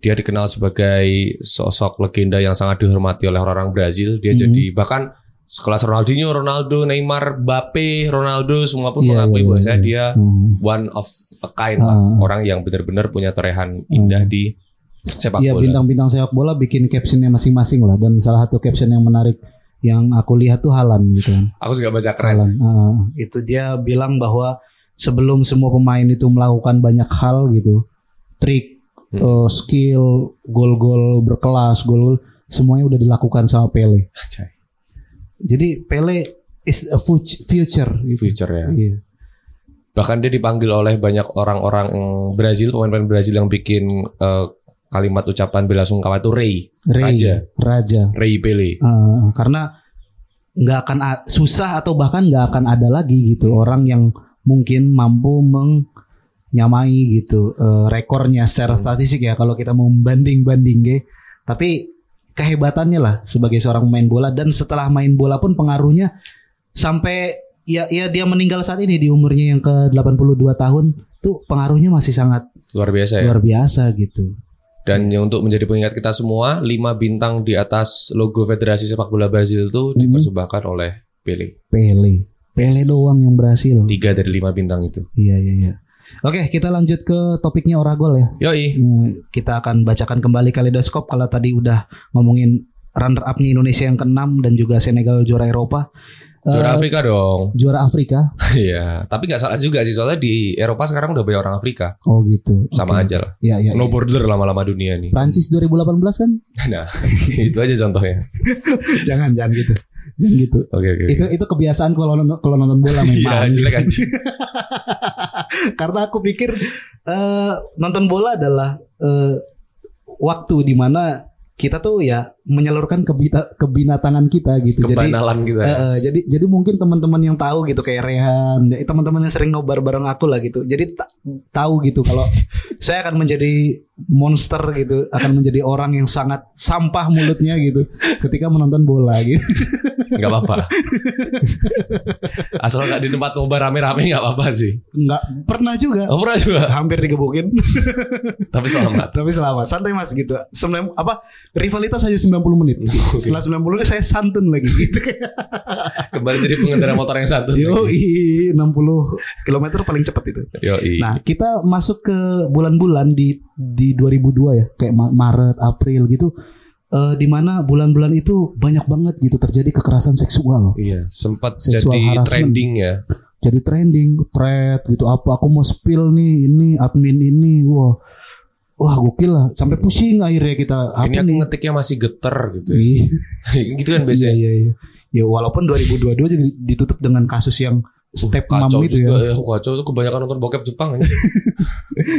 S2: dia dikenal sebagai sosok legenda yang sangat dihormati oleh orang-orang Brazil. Dia
S1: Mhm.
S2: jadi bahkan sekelas Ronaldinho, Ronaldo, Neymar, Mbappe, Ronaldo semua pun
S1: Iya, iya,
S2: mengakui bahwa
S1: iya,
S2: saya
S1: iya.
S2: dia
S1: Hmm.
S2: one of a kind lah,
S1: Ah. Hmm.
S2: orang yang benar-benar punya torehan indah di sepak
S1: Iya
S2: bola.
S1: bintang-bintang sepak bola bikin captionnya masing-masing lah dan salah satu caption yang menarik yang aku lihat tuh Halan gitu kan.
S2: Aku juga baca keren.
S1: Halan. itu dia bilang bahwa sebelum semua pemain itu melakukan banyak hal gitu, trik,
S2: Hmm.
S1: eh, skill, gol-gol berkelas, gol semuanya udah dilakukan sama Pele.
S2: Ajay.
S1: Jadi Pele is a fut- future. Gitu.
S2: future ya.
S1: Iya.
S2: Bahkan dia dipanggil oleh banyak orang-orang Brazil, pemain-pemain Brazil yang bikin eh, kalimat ucapan bela sungkawa itu Rei,
S1: Rey,
S2: Raja.
S1: Raja.
S2: Rei Pele.
S1: Uh, karena nggak akan a- susah atau bahkan nggak akan ada lagi gitu orang yang mungkin mampu menyamai gitu uh, rekornya secara statistik ya kalau kita mau banding banding tapi kehebatannya lah sebagai seorang pemain bola dan setelah main bola pun pengaruhnya sampai ya ya dia meninggal saat ini di umurnya yang ke 82 tahun tuh pengaruhnya masih sangat
S2: Luar biasa ya.
S1: luar biasa gitu
S2: Dan yang untuk menjadi pengingat kita semua, 5 bintang di atas logo Federasi Sepak Bola Brazil itu
S1: Mhm.
S2: dipersembahkan oleh Pele.
S1: Pele Pele doang yang berhasil
S2: 3 dari 5 bintang itu.
S1: Iya iya iya. Oke, kita lanjut ke topiknya Oragol ya.
S2: Yoi.
S1: Hmm, Kita akan bacakan kembali kaleidoskop kalau tadi udah ngomongin runner upnya Indonesia yang keenam dan juga Senegal juara Eropa. Eh,
S2: Juara Afrika dong. <laughs>
S1: juara Afrika.
S2: Iya, tapi nggak salah juga sih soalnya di Eropa sekarang udah banyak orang Afrika.
S1: Oh gitu.
S2: Sama
S1: Oke.
S2: aja lah.
S1: Iya iya. iya.
S2: No border lama-lama dunia
S1: <laughs>
S2: nih.
S1: Prancis 2018 kan? <laughs>
S2: Nah, itu aja contohnya.
S1: jangan jangan gitu. Jangan gitu.
S2: Oke, oke.
S1: Itu itu kebiasaan kalau nonton, kalau nonton bola
S2: Iya,
S1: memang.
S2: jelek anjing.
S1: Karena aku pikir eh, nonton bola adalah eh, waktu dimana kita tuh ya menyalurkan kebita, kebinatangan kita gitu. Jadi
S2: kebanalan kita.
S1: Eh, eh, jadi jadi mungkin teman-teman yang tahu gitu kayak Rehan, ya, teman-teman yang sering nobar bareng aku lah gitu. Jadi ta- tahu gitu kalau saya akan menjadi monster gitu, akan menjadi orang yang sangat sampah mulutnya gitu ketika menonton bola gitu.
S2: Enggak
S1: <laughs>
S2: apa-apa. Asal enggak di tempat ngobrol rame-rame enggak apa-apa sih.
S1: Nggak pernah juga
S2: Oh, pernah juga.
S1: hampir digebukin
S2: Tapi selamat.
S1: tapi selamat santai mas gitu 90 apa rivalitas aja 90
S2: <laughs>
S1: menit setelah 90 menit saya santun lagi gitu
S2: Kembali jadi pengendara motor yang satu.
S1: Yoi, 60 km paling cepat itu
S2: Yoi.
S1: Nah, kita masuk ke bulan-bulan di di 2002 ya, kayak Ma- Maret, April gitu. Eh di mana bulan-bulan itu banyak banget gitu terjadi kekerasan seksual.
S2: Iya, sempat
S1: Sexual
S2: jadi
S1: harassment.
S2: trending ya.
S1: Jadi trending, thread gitu apa aku mau spill nih ini admin ini. Wah. Wah, gokil lah. Sampai pusing akhirnya kita
S2: Ini
S1: apa
S2: aku
S1: nih?
S2: ngetiknya masih geter gitu. ya.
S1: Ih,
S2: <laughs> gitu kan
S1: Iya,
S2: biasanya.
S1: iya, iya. Ya walaupun 2022 jadi ditutup dengan kasus yang step mom
S2: Uh, Kacau
S1: itu ya.
S2: juga ya. Kacau tuh kebanyakan nonton bokep Jepang. ya.
S1: <laughs>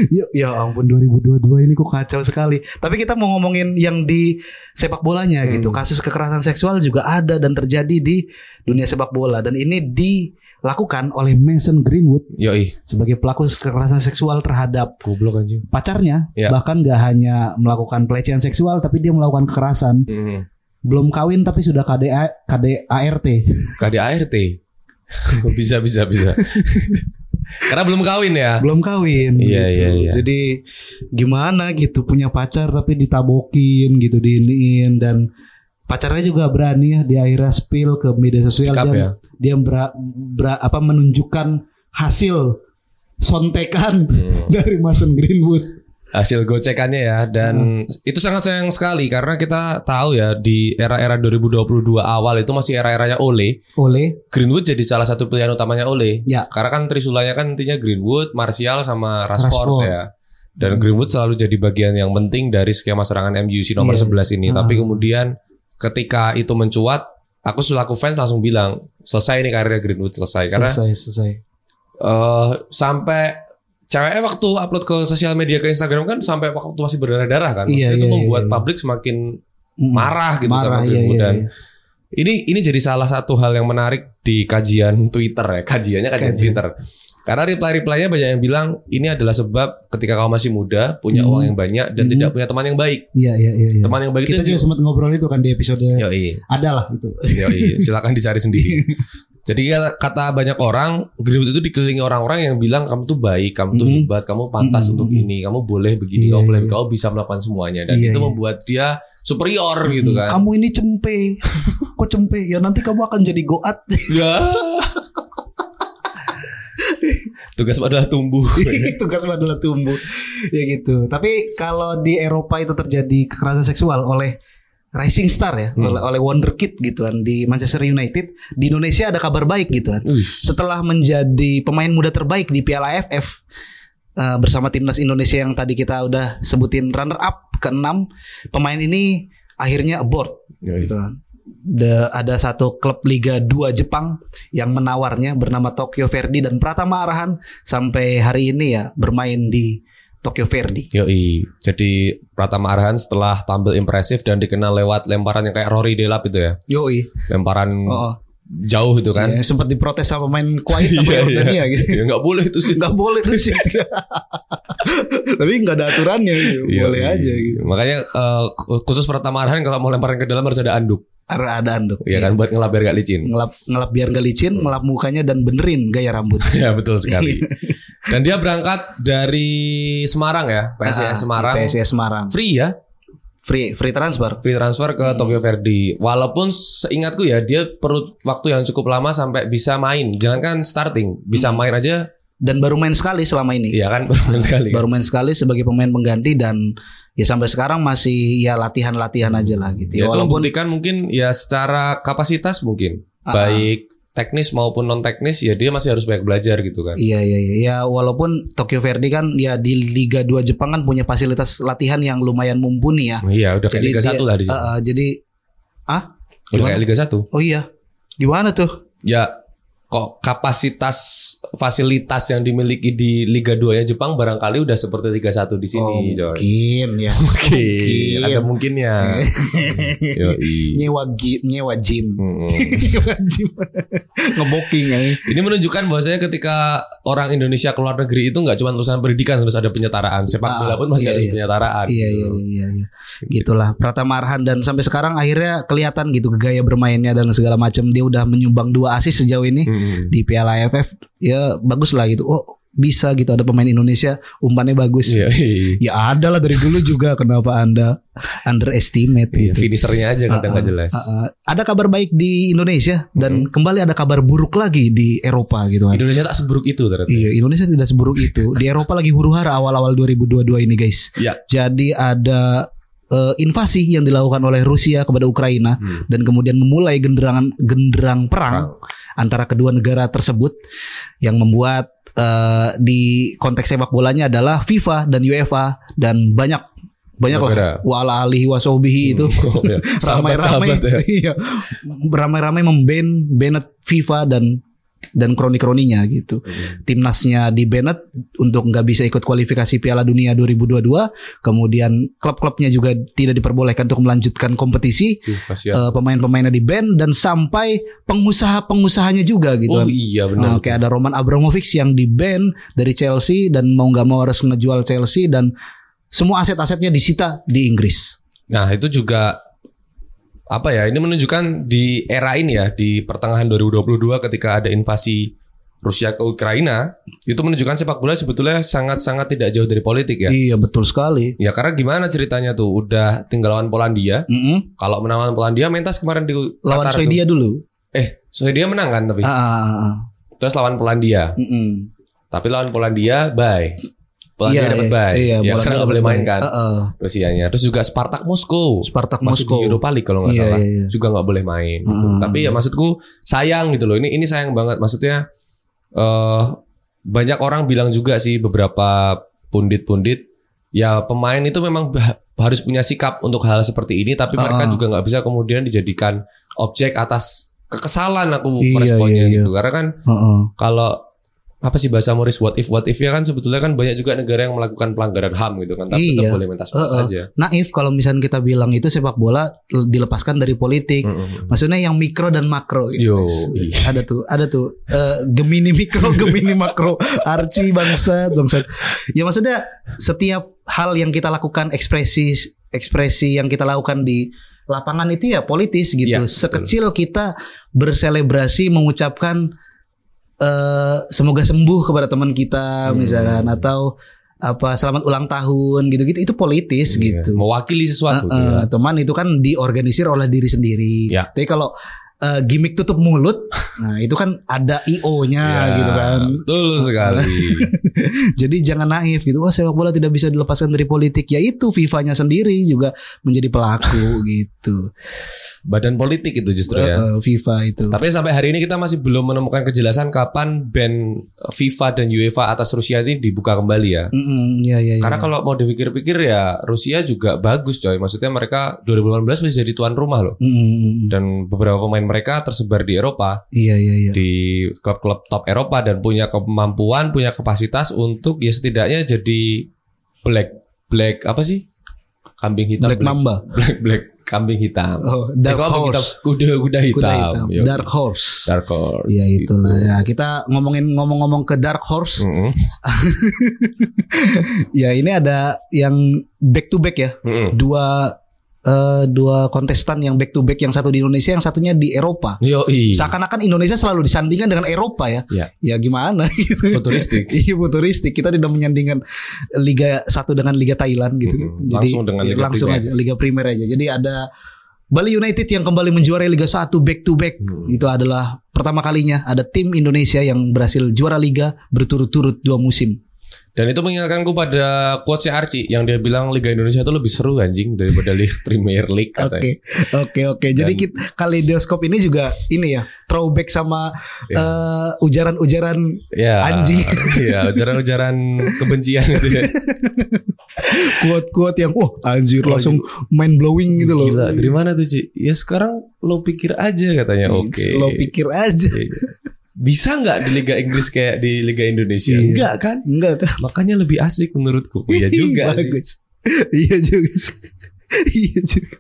S1: Ya, ya ampun 2022 ini kok kacau sekali. Tapi kita mau ngomongin yang di sepak bolanya
S2: Hmm.
S1: gitu. Kasus kekerasan seksual juga ada dan terjadi di dunia sepak bola dan ini dilakukan oleh Mason Greenwood
S2: Yoi,
S1: sebagai pelaku kekerasan seksual terhadap
S2: goblok anjing.
S1: pacarnya.
S2: Ya.
S1: Bahkan gak hanya melakukan pelecehan seksual tapi dia melakukan kekerasan.
S2: Hmm.
S1: Belum kawin tapi sudah KDA KDART.
S2: <laughs>
S1: <laughs>
S2: KDART. bisa bisa bisa. Karena belum kawin ya.
S1: belum kawin
S2: Iya,
S1: gitu.
S2: iya, iya.
S1: Jadi gimana gitu punya pacar tapi ditabokin gitu diiniin dan pacarnya juga berani ya di akhirnya spill ke media sosial
S2: Speak up
S1: dia
S2: ya.
S1: dia bera- bera- apa menunjukkan hasil sontekan
S2: Hmm.
S1: <laughs> dari Mason Greenwood.
S2: hasil gocekannya ya
S1: Hmm.
S2: dan itu sangat sayang sekali karena kita tahu ya di era-era 2022 awal itu masih era-eranya Ole
S1: Oleh
S2: Greenwood jadi salah satu pilihan utamanya Ole
S1: Ya.
S2: karena kan trisulanya kan intinya Greenwood, Martial sama Rashford,
S1: Rashford. Hmm.
S2: ya dan Greenwood selalu jadi bagian yang penting dari skema serangan MU si nomor
S1: Iya.
S2: 11 ini
S1: Ah.
S2: tapi kemudian ketika itu mencuat aku selaku fans langsung bilang selesai nih karirnya Greenwood selesai karena
S1: selesai selesai.
S2: eh sampai ceweknya waktu upload ke sosial media ke Instagram kan sampai waktu masih berdarah-darah kan.
S1: Iya,
S2: Maksudnya itu
S1: iya,
S2: membuat
S1: iya.
S2: publik semakin
S1: Mm.
S2: marah gitu sama
S1: marah iya,
S2: Greenwood
S1: iya,
S2: dan
S1: iya.
S2: ini ini jadi salah satu hal yang menarik di kajian Twitter ya. Kajiannya kajian
S1: Kajian.
S2: Twitter. Karena reply-replynya banyak yang bilang ini adalah sebab ketika kamu masih muda, punya
S1: Hmm.
S2: uang yang banyak dan
S1: Hmm.
S2: tidak punya teman yang baik.
S1: Iya iya iya. iya.
S2: Teman yang baik
S1: Kita
S2: itu Iya.
S1: juga sempat ngobrol itu kan di episode gitu.
S2: Yoi.
S1: ada lah itu. <laughs>
S2: Yoi, silakan dicari sendiri. Jadi kata, kata banyak orang, Greenwood itu dikelilingi orang-orang yang bilang kamu tuh baik, kamu tuh
S1: Mhm.
S2: hebat, kamu
S1: Mhm,
S2: pantas untuk
S1: mhm.
S2: ini, kamu boleh begini,
S1: Iya,
S2: kamu boleh,
S1: iya.
S2: kamu bisa melakukan semuanya
S1: Iya,
S2: dan itu
S1: iya. Mm-hmm.
S2: membuat dia superior gitu
S1: <laughs>
S2: kan.
S1: Kamu ini cempe. <laughs> Kok cempe? Ya nanti kamu akan jadi goat.
S2: <laughs> Ya. Tugas adalah
S1: <laughs>
S2: tumbuh.
S1: Tugas adalah tumbuh. Ya gitu. Tapi kalau di Eropa itu terjadi kekerasan seksual oleh Rising Star ya,
S2: Hmm.
S1: oleh oleh Wonderkid gitu kan di Manchester United. Di Indonesia ada kabar baik gitu kan.
S2: Wih.
S1: Setelah menjadi pemain muda terbaik di Piala AFF eh, bersama timnas Indonesia yang tadi kita udah sebutin runner up ke-6, pemain ini akhirnya abort
S2: Yoi.
S1: gitu kan. The- ada satu klub Liga 2 Jepang yang menawarnya bernama Tokyo Verdy dan Pratama Arahan sampai hari ini ya bermain di Tokyo Verdy.
S2: Yoi. Jadi Pratama Arhan setelah tampil impresif dan dikenal lewat lemparan yang kayak Rory Delap itu ya.
S1: Yoi.
S2: Lemparan
S1: Oh,
S2: jauh itu Hmm. kan.
S1: ya, sempat diprotes sama pemain Kuwait sama
S2: <laughs> Iya, iya.
S1: Yordania gitu.
S2: Ya nggak boleh itu sih.
S1: Nggak boleh tuh sih.
S2: <laughs>
S1: Tapi nggak ada aturannya gitu.
S2: Iya,
S1: Boleh
S2: iya.
S1: aja gitu.
S2: Makanya eh, khusus pertama arahan kalau mau lemparan ke dalam harus ada anduk,
S1: Ada ada anduk.
S2: ya kan Hmm. buat ngelap biar gak licin.
S1: Ngelap ngelap biar gak licin, ngelap mukanya dan benerin gaya
S2: <laughs>
S1: rambut.
S2: ya betul sekali.
S1: Iya.
S2: Dan dia berangkat dari Semarang
S1: Ah,
S2: ya, PSIS Semarang.
S1: PSIS Semarang.
S2: Free ya,
S1: Free free transfer.
S2: free transfer ke
S1: Hmm.
S2: Tokyo Verdy. Walaupun seingatku ya dia perlu waktu yang cukup lama sampai bisa main. Jangan kan starting, bisa
S1: Hmm.
S2: main aja.
S1: Dan baru main sekali selama ini.
S2: Iya kan <laughs> benar sekali.
S1: baru main sekali sebagai pemain pengganti dan ya sampai sekarang masih ya latihan-latihan aja lah gitu.
S2: Ya, itu
S1: Walaupun
S2: membuktikan mungkin ya secara kapasitas mungkin
S1: Ah.
S2: baik teknis maupun non teknis ya dia masih harus banyak belajar gitu kan.
S1: iya iya iya ya walaupun Tokyo Verdy kan ya di Liga 2 Jepang kan punya fasilitas latihan yang lumayan mumpuni ya.
S2: Iya, udah kayak Liga
S1: dia-
S2: 1 lah di sini.
S1: eh, eh, jadi ah
S2: Udah
S1: gimana?
S2: kayak Liga 1.
S1: Oh iya. Gimana tuh?
S2: Ya kok kapasitas fasilitas yang dimiliki di Liga 2 nya Jepang barangkali udah seperti Liga 1 di sini,
S1: oh,
S2: Coy.
S1: mungkin ya.
S2: <laughs> Mungkin. Ada
S1: <laughs>
S2: mungkinnya. Yoi.
S1: nyewa gi- nyewa
S2: <laughs>
S1: gym.
S2: Mm-mm.
S1: Nyewa gym. <laughs> Ngeboking ya.
S2: Ini menunjukkan bahwasanya ketika orang Indonesia ke luar negeri itu nggak cuma lulusan pendidikan harus ada penyetaraan. Sepak
S1: Ah,
S2: bola pun
S1: iya,
S2: masih harus
S1: iya.
S2: penyetaraan. gitu.
S1: Iya iya iya iya. Gitulah Pratama Arhan dan sampai sekarang akhirnya kelihatan gitu gaya bermainnya dan segala macam dia udah menyumbang dua asis sejauh ini
S2: Mm-mm.
S1: di Piala AFF. Ya bagus lah gitu. Oh, bisa gitu ada pemain Indonesia umpannya bagus.
S2: Iya.
S1: Ya ada lah dari dulu juga
S2: <laughs>
S1: kenapa Anda underestimate
S2: Iya,
S1: gitu.
S2: Finishernya aja kadang nggak jelas.
S1: Uh, uh, ada kabar baik di Indonesia dan kembali ada kabar buruk lagi di Eropa gitu kan.
S2: Mm-hmm. Indonesia tak seburuk itu ternyata.
S1: Iya, Indonesia tidak seburuk itu. Di Eropa lagi huru-hara awal-awal 2022 ini, guys.
S2: Iya.
S1: Jadi ada eh, invasi yang dilakukan oleh Rusia kepada Ukraina
S2: Hmm.
S1: dan kemudian memulai genderangan genderang perang antara kedua negara tersebut yang membuat eh, di konteks sepak bolanya adalah FIFA dan UEFA dan banyak banyak lah
S2: Negara.
S1: wala alihi wasobihi itu
S2: <laughs> Oh, iya.
S1: <laughs> ramai-ramai
S2: Sahabat-sahabat
S1: iya
S2: ya.
S1: ramai-ramai memban Bennett FIFA dan dan kroni-kroninya gitu.
S2: Hmm.
S1: Timnasnya di Bennett untuk nggak bisa ikut kualifikasi Piala Dunia 2022, kemudian klub-klubnya juga tidak diperbolehkan untuk melanjutkan kompetisi.
S2: Duh, kasihan.
S1: Eh, pemain-pemainnya di ban dan sampai pengusaha-pengusahanya juga gitu.
S2: Oh iya benar.
S1: Oke ada Roman Abramovich yang di ban dari Chelsea dan mau nggak mau harus ngejual Chelsea dan semua aset-asetnya disita di Inggris.
S2: Nah itu juga apa ya? Ini menunjukkan di era ini ya di pertengahan 2022 ketika ada invasi Rusia ke Ukraina itu menunjukkan sepak bola sebetulnya sangat-sangat tidak jauh dari politik ya.
S1: Iya betul sekali.
S2: Ya karena gimana ceritanya tuh udah tinggal lawan Polandia.
S1: Mm-mm.
S2: Kalau menang lawan Polandia mentas kemarin di
S1: Lawan
S2: Qatar tuh.
S1: Swedia dulu.
S2: Eh, Swedia menang kan tapi.
S1: Ah, ah, ah, ah.
S2: Terus lawan Polandia.
S1: Mm-mm.
S2: Tapi lawan Polandia bye. Polandia
S1: Iya,
S2: dapat
S1: iya,
S2: bye.
S1: Iya,
S2: ya,
S1: bola
S2: karena nggak
S1: dapat
S2: boleh main
S1: bye.
S2: kan
S1: Ah, ah.
S2: Rusianya. Terus juga Spartak Moskow.
S1: Spartak
S2: masuk
S1: Moskow.
S2: di Europa League kalau nggak
S1: Iya,
S2: salah
S1: iya, iya.
S2: juga nggak boleh main gitu.
S1: Hmm.
S2: tapi ya maksudku sayang gitu loh ini ini sayang banget maksudnya eh banyak orang bilang juga sih beberapa pundit-pundit ya pemain itu memang bah- harus punya sikap untuk hal seperti ini tapi mereka
S1: Ah.
S2: juga nggak bisa kemudian dijadikan objek atas kekesalan aku
S1: Iya,
S2: meresponnya
S1: iya, iya.
S2: gitu karena kan
S1: Ah, ah.
S2: kalau apa sih bahasa Morris what if what if ya kan sebetulnya kan banyak juga negara yang melakukan pelanggaran HAM gitu kan
S1: Iya.
S2: tapi tetap boleh mentas mentas
S1: Eh, eh.
S2: saja
S1: Naif kalau misalnya kita bilang itu sepak bola dilepaskan dari politik. Maksudnya yang mikro dan makro gitu.
S2: Hmm. Yo,
S1: guys.
S2: iya.
S1: Ada tuh, ada tuh eh, Gemini mikro, <laughs> Gemini makro, Archie bangsat, bangsat. Ya maksudnya setiap hal yang kita lakukan ekspresi ekspresi yang kita lakukan di lapangan itu ya politis gitu.
S2: Iya, betul.
S1: Sekecil kita berselebrasi mengucapkan eh semoga sembuh kepada teman kita misalkan
S2: Hmm.
S1: atau apa selamat ulang tahun gitu-gitu itu politis
S2: Iya,
S1: gitu.
S2: mewakili sesuatu
S1: Heeh,
S2: dia.
S1: Teman itu kan diorganisir oleh diri sendiri.
S2: gitu Ya.
S1: Tapi kalau eh, gimmick tutup
S2: <laughs>
S1: mulut, nah itu kan ada IO-nya
S2: Ya,
S1: gitu kan.
S2: Betul
S1: <laughs>
S2: sekali.
S1: Jadi jangan naif gitu. Wah, sepak bola tidak bisa dilepaskan dari politik. Ya itu FIFA-nya sendiri juga menjadi
S2: <laughs>
S1: pelaku gitu.
S2: Badan politik itu justru ya.
S1: Eh, eh, FIFA itu.
S2: Tapi sampai hari ini kita masih belum menemukan kejelasan kapan ban FIFA dan UEFA atas Rusia ini dibuka kembali ya.
S1: Mm-mm, iya, iya, iya.
S2: Karena kalau mau dipikir-pikir ya Rusia juga bagus coy. Maksudnya mereka 2018 bisa jadi tuan rumah loh.
S1: Mm-mm,
S2: Dan beberapa pemain mereka tersebar di Eropa,
S1: iya iya iya.
S2: di klub-klub top Eropa dan punya kemampuan, punya kapasitas untuk ya setidaknya jadi black black apa sih? Kambing hitam
S1: Black Mamba.
S2: black black kambing hitam.
S1: Oh,
S2: Eh,
S1: Dark
S2: kok kambing hitam?
S1: Horse.
S2: Kuda kuda hitam.
S1: Kuda hitam.
S2: Yo.
S1: Dark Horse.
S2: Dark horse.
S1: Iya
S2: gitu.
S1: itulah ya. Kita ngomongin ngomong-ngomong ke Dark Horse.
S2: Mm-mm.
S1: Ya ini ada yang back to back ya.
S2: Mm-mm.
S1: dua eh, dua kontestan yang back to back yang satu di Indonesia yang satunya di Eropa.
S2: Yoi.
S1: Seakan-akan Indonesia selalu disandingkan dengan Eropa ya.
S2: Ya.
S1: gimana <laughs> gitu.
S2: Futuristik.
S1: Iya futuristik. Kita tidak menyandingkan Liga 1 dengan Liga Thailand gitu.
S2: Mm-mm. Hmm, Langsung dengan
S1: ya,
S2: Liga
S1: langsung
S2: Primer.
S1: aja Liga Primer aja. Jadi ada Bali United yang kembali menjuarai Liga 1 back to back.
S2: Hmm.
S1: Itu adalah pertama kalinya ada tim Indonesia yang berhasil juara liga berturut-turut dua musim.
S2: Dan itu mengingatkanku pada quotesnya Archie yang dia bilang Liga Indonesia itu lebih seru anjing daripada Liga
S1: <laughs>
S2: Premier League
S1: Oke,
S2: katanya.
S1: oke, oke. Jadi
S2: Dan-
S1: kita kaleidoskop ini juga ini ya throwback sama
S2: Ya.
S1: eh, ujaran-ujaran
S2: <laughs> Ya,
S1: Anjing.
S2: Iya, ujaran-ujaran kebencian itu
S1: <laughs>
S2: ya.
S1: quote-quote yang wah anjir langsung mind blowing gitu loh.
S2: Oh, iya. Gila, dari mana tuh, Ci? Ya sekarang lo pikir aja katanya. Oke.
S1: Iya,
S2: Iya.
S1: Lo pikir aja.
S2: Bisa nggak di Liga Inggris kayak di Liga Indonesia?
S1: Iya.
S2: Enggak kan?
S1: Enggak kan?
S2: Makanya lebih asik menurutku. <laughs>
S1: <laughs>
S2: Iya juga sih.
S1: Bagus. Iya juga. sih. <laughs> Iya juga.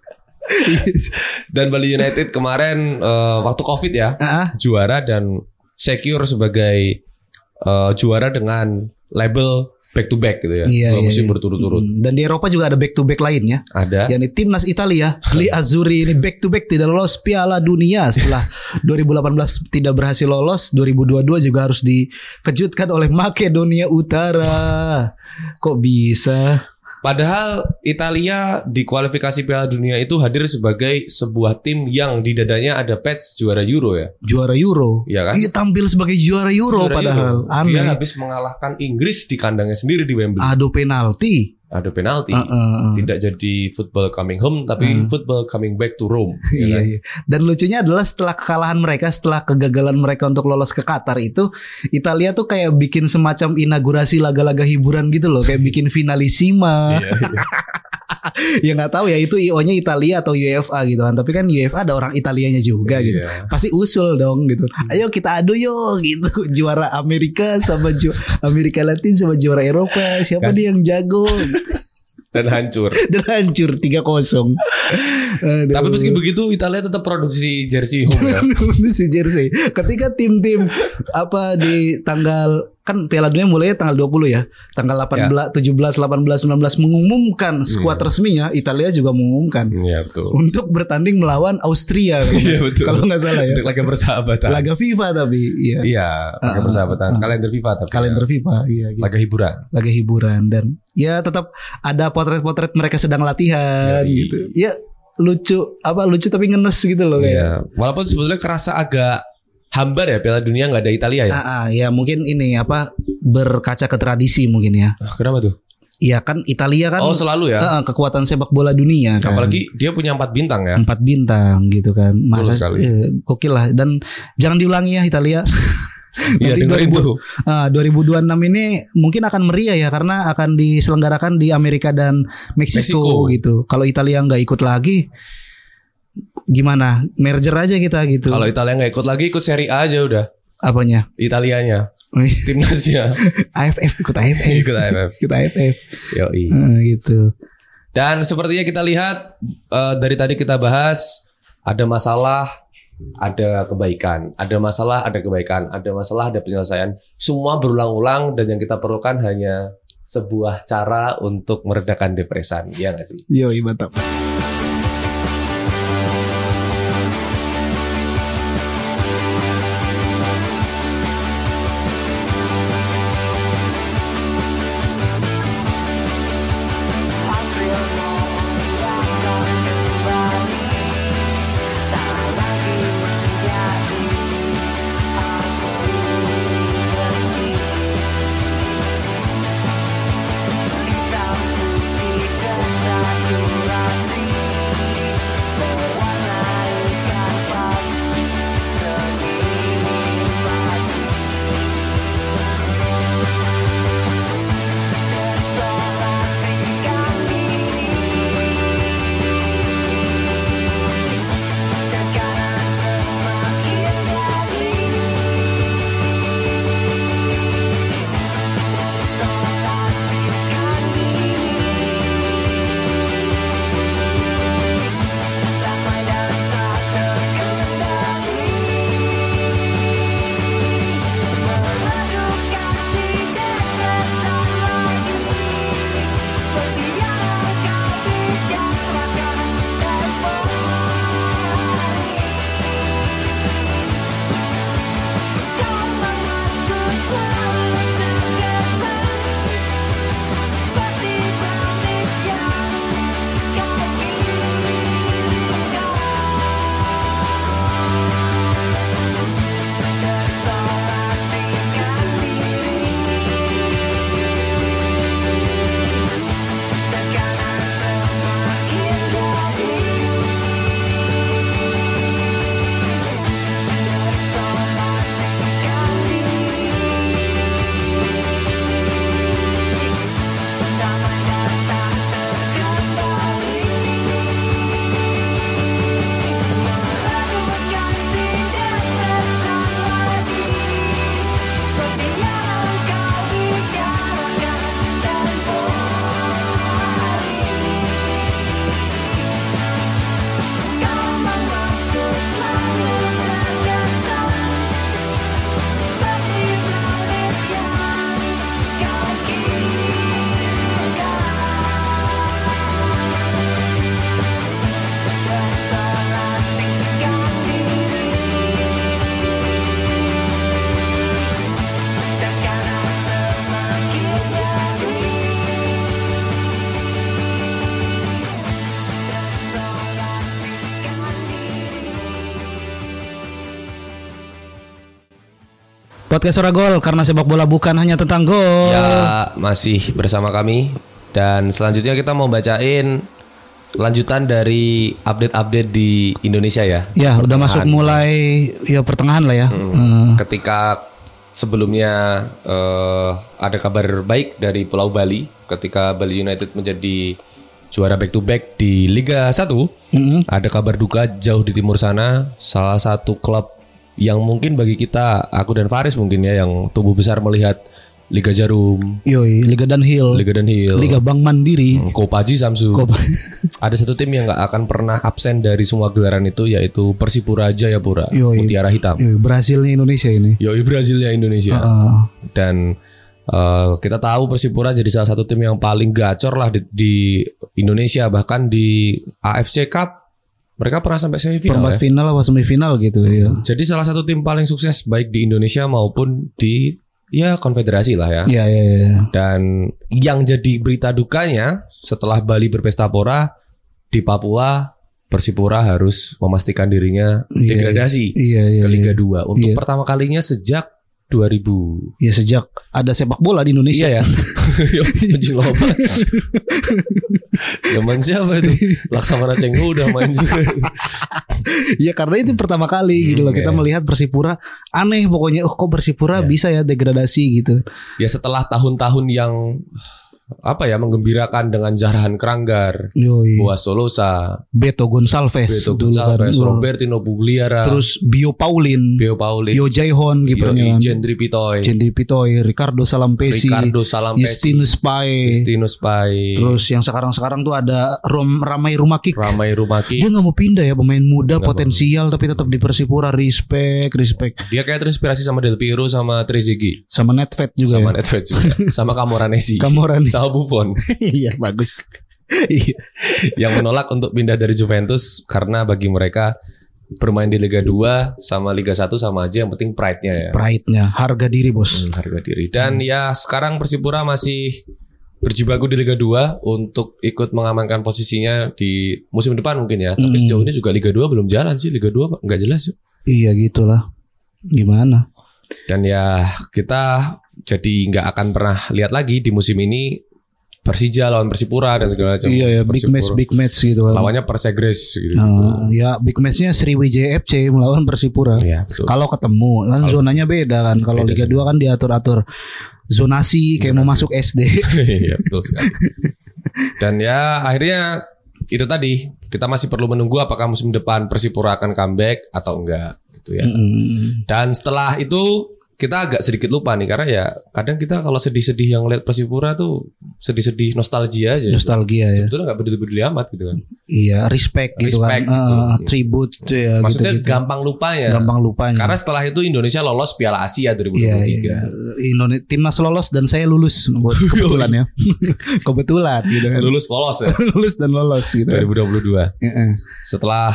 S1: Iya juga.
S2: Dan Bali United kemarin eh, waktu Covid ya,
S1: Ah,
S2: juara dan secure sebagai eh, juara dengan label back to back gitu ya.
S1: Iya,
S2: Dua
S1: iya,
S2: musim
S1: iya.
S2: berturut-turut.
S1: mm, Dan di Eropa juga ada back to back ya. lainnya.
S2: Ada.
S1: yakni timnas Italia, Li Azzurri ini back to back tidak lolos Piala Dunia
S2: <laughs>
S1: setelah 2018 tidak berhasil lolos, 2022 juga harus dikejutkan oleh Makedonia Utara. Kok bisa?
S2: Padahal Italia di kualifikasi Piala Dunia itu hadir sebagai sebuah tim yang di dadanya ada patch juara Euro ya.
S1: Juara Euro.
S2: Iya kan?
S1: Iya tampil sebagai juara Euro
S2: Juara
S1: padahal
S2: Euro. Iya. Dia
S1: aneh. Ah.
S2: habis mengalahkan Inggris di kandangnya sendiri di Wembley.
S1: Aduh penalti.
S2: Ada penalti.
S1: Uh, uh, <laughs> uh.
S2: Iya. Tidak jadi football coming home tapi football coming back to Rome. ya
S1: Hmm. <laughs> Iya,
S2: kan?
S1: iya. Dan lucunya adalah setelah kekalahan mereka, setelah kegagalan mereka untuk lolos ke Qatar itu, Italia tuh kayak bikin semacam inaugurasi laga-laga hiburan gitu loh, kayak bikin finalissima. <laughs>
S2: Iya, iya.
S1: ya nggak tahu ya itu IO-nya Italia atau UEFA gitu kan. Tapi kan UEFA ada orang Italianya juga gitu.
S2: Iya. Hmm.
S1: Pasti usul dong gitu. Ayo kita adu yo gitu. <laughs> Juara Amerika sama ju Amerika Latin sama juara Eropa. Siapa
S2: Gas.
S1: nih yang jago? <laughs>
S2: Dan hancur.
S1: Dan hancur 3-0.
S2: <laughs>
S1: Aduh.
S2: Tapi meski begitu Italia tetap produksi
S1: <laughs>
S2: jersey home ya.
S1: Itu si jersey. Ketika tim-tim apa di tanggal kan Piala Dunia mulainya tanggal 20 ya. Tanggal 18, 17, 18, 19 mengumumkan skuad resminya, Italia juga mengumumkan
S2: Iya betul.
S1: untuk bertanding melawan
S2: <laughs>
S1: Austria kalau
S2: Iya,
S1: nggak-
S2: betul.
S1: kalau nggak salah ya.
S2: Untuk laga persahabatan.
S1: Laga FIFA tapi iya.
S2: Iya, laga
S1: Ah,
S2: persahabatan.
S1: ah.
S2: Kalender FIFA tapi.
S1: Kalender FIFA iya
S2: ya.
S1: gitu.
S2: laga hiburan.
S1: Laga hiburan dan ya tetap ada potret-potret mereka sedang latihan
S2: Yoi.
S1: gitu. Ya lucu apa lucu tapi ngenes gitu loh kayak.
S2: Iya. Walaupun sebetulnya kerasa agak hambar ya Piala Dunia nggak ada Italia ya.
S1: Ah, ah, ya mungkin ini apa berkaca ke tradisi mungkin ya.
S2: Ah, Kenapa tuh?
S1: Iya kan Italia kan
S2: oh selalu ya.
S1: eh, kekuatan sepak bola dunia kan.
S2: Apalagi dia punya empat bintang ya.
S1: empat bintang gitu kan masa
S2: Betul sekali.
S1: eh, gokil lah dan jangan diulangi ya Italia
S2: Iya
S1: Nanti
S2: dengerin
S1: 2000
S2: tuh.
S1: Ah, 2026 ini mungkin akan meriah ya karena akan diselenggarakan di Amerika dan Meksiko
S2: Meksiko.
S1: gitu kalau Italia nggak ikut lagi gimana merger aja kita gitu
S2: Kalau Italia nggak ikut lagi ikut Serie A aja udah.
S1: apanya <laughs>
S2: Italianya, timnasnya
S1: AFF ikut AFF
S2: ikut AFF.
S1: ikut AFF
S2: Yoi.
S1: Eh, gitu
S2: Dan sepertinya kita lihat eh, dari tadi kita bahas ada masalah, ada kebaikan, ada masalah, ada kebaikan, ada masalah, ada penyelesaian. Semua berulang-ulang dan yang kita perlukan hanya sebuah cara untuk meredakan depresan, ya nggak sih?
S1: yoi mantap podcast ora gol karena sepak bola bukan hanya tentang gol
S2: Ya masih bersama kami dan selanjutnya kita mau bacain lanjutan dari update-update di Indonesia ya.
S1: Ya, udah masuk mulai ya pertengahan lah ya.
S2: Hmm.
S1: Eh,
S2: ketika sebelumnya eh, ada kabar baik dari Pulau Bali ketika Bali United menjadi juara back to back di Liga 1 ada kabar duka jauh di timur sana salah satu klub yang mungkin bagi kita aku dan Faris mungkin ya yang tumbuh besar melihat Liga Jarum,
S1: Yoi, Liga Dunhill, Liga,
S2: Liga Dunhill,
S1: Bank Mandiri,
S2: Hmm, Kopaji Samsu.
S1: Kopa-
S2: Ada satu tim yang nggak akan pernah absen dari semua gelaran itu yaitu Persipura Jayapura,
S1: Yoi.
S2: Mutiara Hitam.
S1: <laughs> Yoi, Brasilnya Indonesia ini. Ah.
S2: Yoi Ah, Brazilnya Indonesia.
S1: Heeh.
S2: Dan eh, kita tahu Persipura jadi salah satu tim yang paling gacor lah di, di Indonesia bahkan di AFC Cup mereka pernah sampai semifinal.
S1: perempat
S2: ya. Nah.
S1: final apa semifinal gitu ya.
S2: Jadi salah satu tim paling sukses baik di Indonesia maupun di ya konfederasi lah ya.
S1: Iya iya iya.
S2: Dan yang jadi berita dukanya setelah Bali berpesta pora di Papua Persipura harus memastikan dirinya
S1: Iya.
S2: degradasi
S1: Iya iya.
S2: ke Liga
S1: iya.
S2: 2 untuk
S1: Iya.
S2: pertama kalinya sejak 2000
S1: Ya sejak ada sepak bola di Indonesia.
S2: Iya ya. <laughs> Yo, Anjing loba. Zaman siapa itu? Laksamana Cengho udah main juga.
S1: ya karena itu pertama kali
S2: Hmm,
S1: gitu loh kita
S2: iya.
S1: melihat Persipura aneh pokoknya. Oh kok Persipura
S2: Iya.
S1: bisa ya degradasi gitu.
S2: Ya setelah tahun-tahun yang apa ya menggembirakan dengan Zarahan Keranggar,
S1: Yoi.
S2: Boas Solosa,
S1: Beto Gonçalves Iya.
S2: Beto
S1: dulu
S2: Gonçalves,
S1: kan.
S2: Robertino Bugliara,
S1: Terus Bio Paulin,
S2: Pio Paulin,
S1: Yo Jaihon kipernya. kan.
S2: Jendri Pitoy,
S1: Jendri Pitoy, Ricardo Salampesi,
S2: iya. Ricardo Salampesi,
S1: Justinus Pae.
S2: Justinus Pai,
S1: Terus yang sekarang-sekarang tuh ada Rom Ramai Rumakik.
S2: Ramai Rumaki.
S1: Dia nggak mau pindah ya pemain muda
S2: Iya. Nggak mau.
S1: potensial tapi tetap di Persipura respect respect
S2: Dia kayak terinspirasi sama Del Piero sama Trezeguet,
S1: sama Netfed juga
S2: sama
S1: ya.
S2: Nedved juga, sama Camoranesi,
S1: Camoranesi.
S2: sama Buffon.
S1: <laughs> Iya bagus. Iya.
S2: yang menolak untuk pindah dari Juventus karena bagi mereka bermain di Liga 2 sama Liga 1 sama aja yang penting pride-nya ya.
S1: Pride-nya harga diri bos.
S2: Hmm, harga diri. Dan ya sekarang Persipura masih berjibaku di Liga 2 untuk ikut mengamankan posisinya di musim depan mungkin ya.
S1: Hmm.
S2: Tapi sejauh ini juga Liga 2 belum jalan sih. Liga 2 nggak jelas. yuk.
S1: Iya gitulah. Gimana?
S2: Dan ya kita jadi nggak akan pernah lihat lagi di musim ini Persija lawan Persipura dan segala macam.
S1: iya ya big
S2: Persipura.
S1: match big match gitu.
S2: Lawannya Persegres gitu.
S1: Nah, ya big matchnya Sriwijaya FC melawan Persipura.
S2: Ya, betul.
S1: Kalau ketemu kan
S2: Kalau-
S1: zonanya beda kan. Kalau
S2: Beda
S1: Liga
S2: sih.
S1: 2 kan diatur-atur zonasi kayak mau masuk SD.
S2: <laughs> Iya betul sekali. Dan ya akhirnya itu tadi kita masih perlu menunggu apakah musim depan Persipura akan comeback atau enggak gitu ya.
S1: <laughs> Hmm. Mm-mm.
S2: Dan setelah itu kita agak sedikit lupa nih karena ya kadang kita kalau sedih-sedih yang lihat Persipura tuh sedih-sedih nostalgia aja.
S1: Nostalgia ya.
S2: Sebetulnya nggak peduli-peduli amat gitu kan.
S1: Iya, respect gitu
S2: Respect,
S1: kan.
S2: gitu.
S1: Ah, tribute tuh ya
S2: Maksudnya
S1: gitu-gitu.
S2: gampang lupa ya.
S1: Gampang lupanya.
S2: Karena setelah itu Indonesia lolos Piala Asia 2023.
S1: Iya, iya. Indonesia timnas lolos dan saya lulus
S2: <laughs>
S1: buat kebetulan ya. <laughs> kebetulan gitu kan.
S2: Lulus Iya. lolos ya
S1: <laughs> lulus dan lolos gitu.
S2: 2022.
S1: Heeh.
S2: Setelah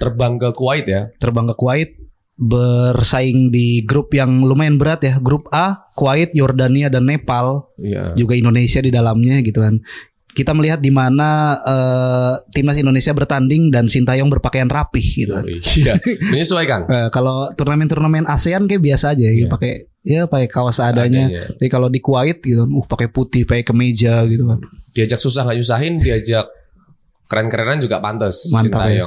S2: terbang ke Kuwait ya.
S1: Terbang ke Kuwait bersaing di grup yang lumayan berat ya. Grup A, Kuwait, Yordania dan Nepal,
S2: Iya.
S1: juga Indonesia di dalamnya gitu kan. Kita melihat di mana eh, timnas Indonesia bertanding dan Sintayong berpakaian rapih gitu kan. <laughs>
S2: Iya. Menyesuaikan.
S1: Eh, kalau turnamen-turnamen ASEAN kayak biasa aja ya,
S2: Iya.
S1: pakai ya pakai kaos adanya.
S2: Seadanya.
S1: Tapi kalau di Kuwait gitu, uh pakai putih, pakai kemeja gitu kan.
S2: diajak susah nggak nyusahin diajak keren-kerenan juga pantas
S1: Mantap ya
S2: Sintayong.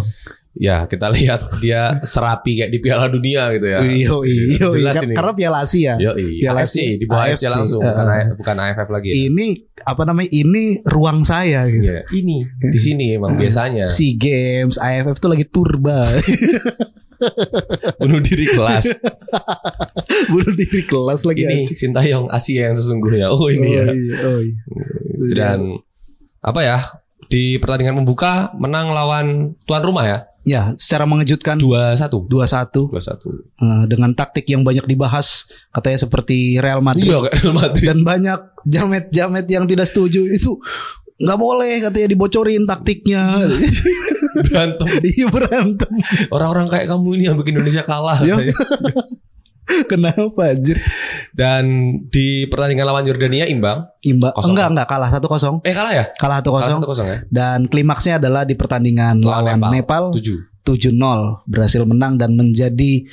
S1: Sintayong.
S2: ya kita lihat dia serapi kayak di Piala Dunia gitu ya
S1: Iyo iyo.
S2: jelas
S1: Kar-
S2: ini Iya.
S1: Karena Piala Asia.
S2: Yoi,
S1: Piala
S2: AFC di bawah AFC,
S1: AFC,
S2: langsung
S1: eh.
S2: bukan, A- bukan AFF lagi ya.
S1: Ini apa namanya? Ini ruang saya gitu.
S2: Iya. ini di sini emang biasanya
S1: Si Games, AFF tuh lagi turba, <laughs>
S2: bunuh diri kelas
S1: bunuh diri kelas lagi.
S2: ini
S1: anjing.
S2: Sintayong Asia yang sesungguhnya oh ini ya
S1: Oh, iya, oh, iya.
S2: dan apa ya di pertandingan membuka menang lawan tuan rumah ya
S1: ya secara mengejutkan
S2: 2-1
S1: 2-1
S2: 2-1
S1: eh, dengan taktik yang banyak dibahas katanya seperti Real Madrid
S2: iya kayak Real Madrid
S1: dan banyak jamet-jamet yang tidak setuju itu nggak boleh katanya dibocorin taktiknya
S2: Iya.
S1: <laughs>
S2: berantem
S1: iya berantem
S2: orang-orang kayak kamu ini yang bikin Indonesia kalah
S1: Iya.
S2: katanya.
S1: kenapa anjir
S2: Dan di pertandingan lawan Yordania imbang.
S1: Imba
S2: Kosong.
S1: enggak enggak kalah 1-0
S2: Eh kalah ya?
S1: kalah 1-0
S2: Kalah 1-0 ya?
S1: dan klimaksnya adalah di pertandingan
S2: Lawan
S1: lawan Nepal,
S2: 7.
S1: 7-0 berhasil menang dan menjadi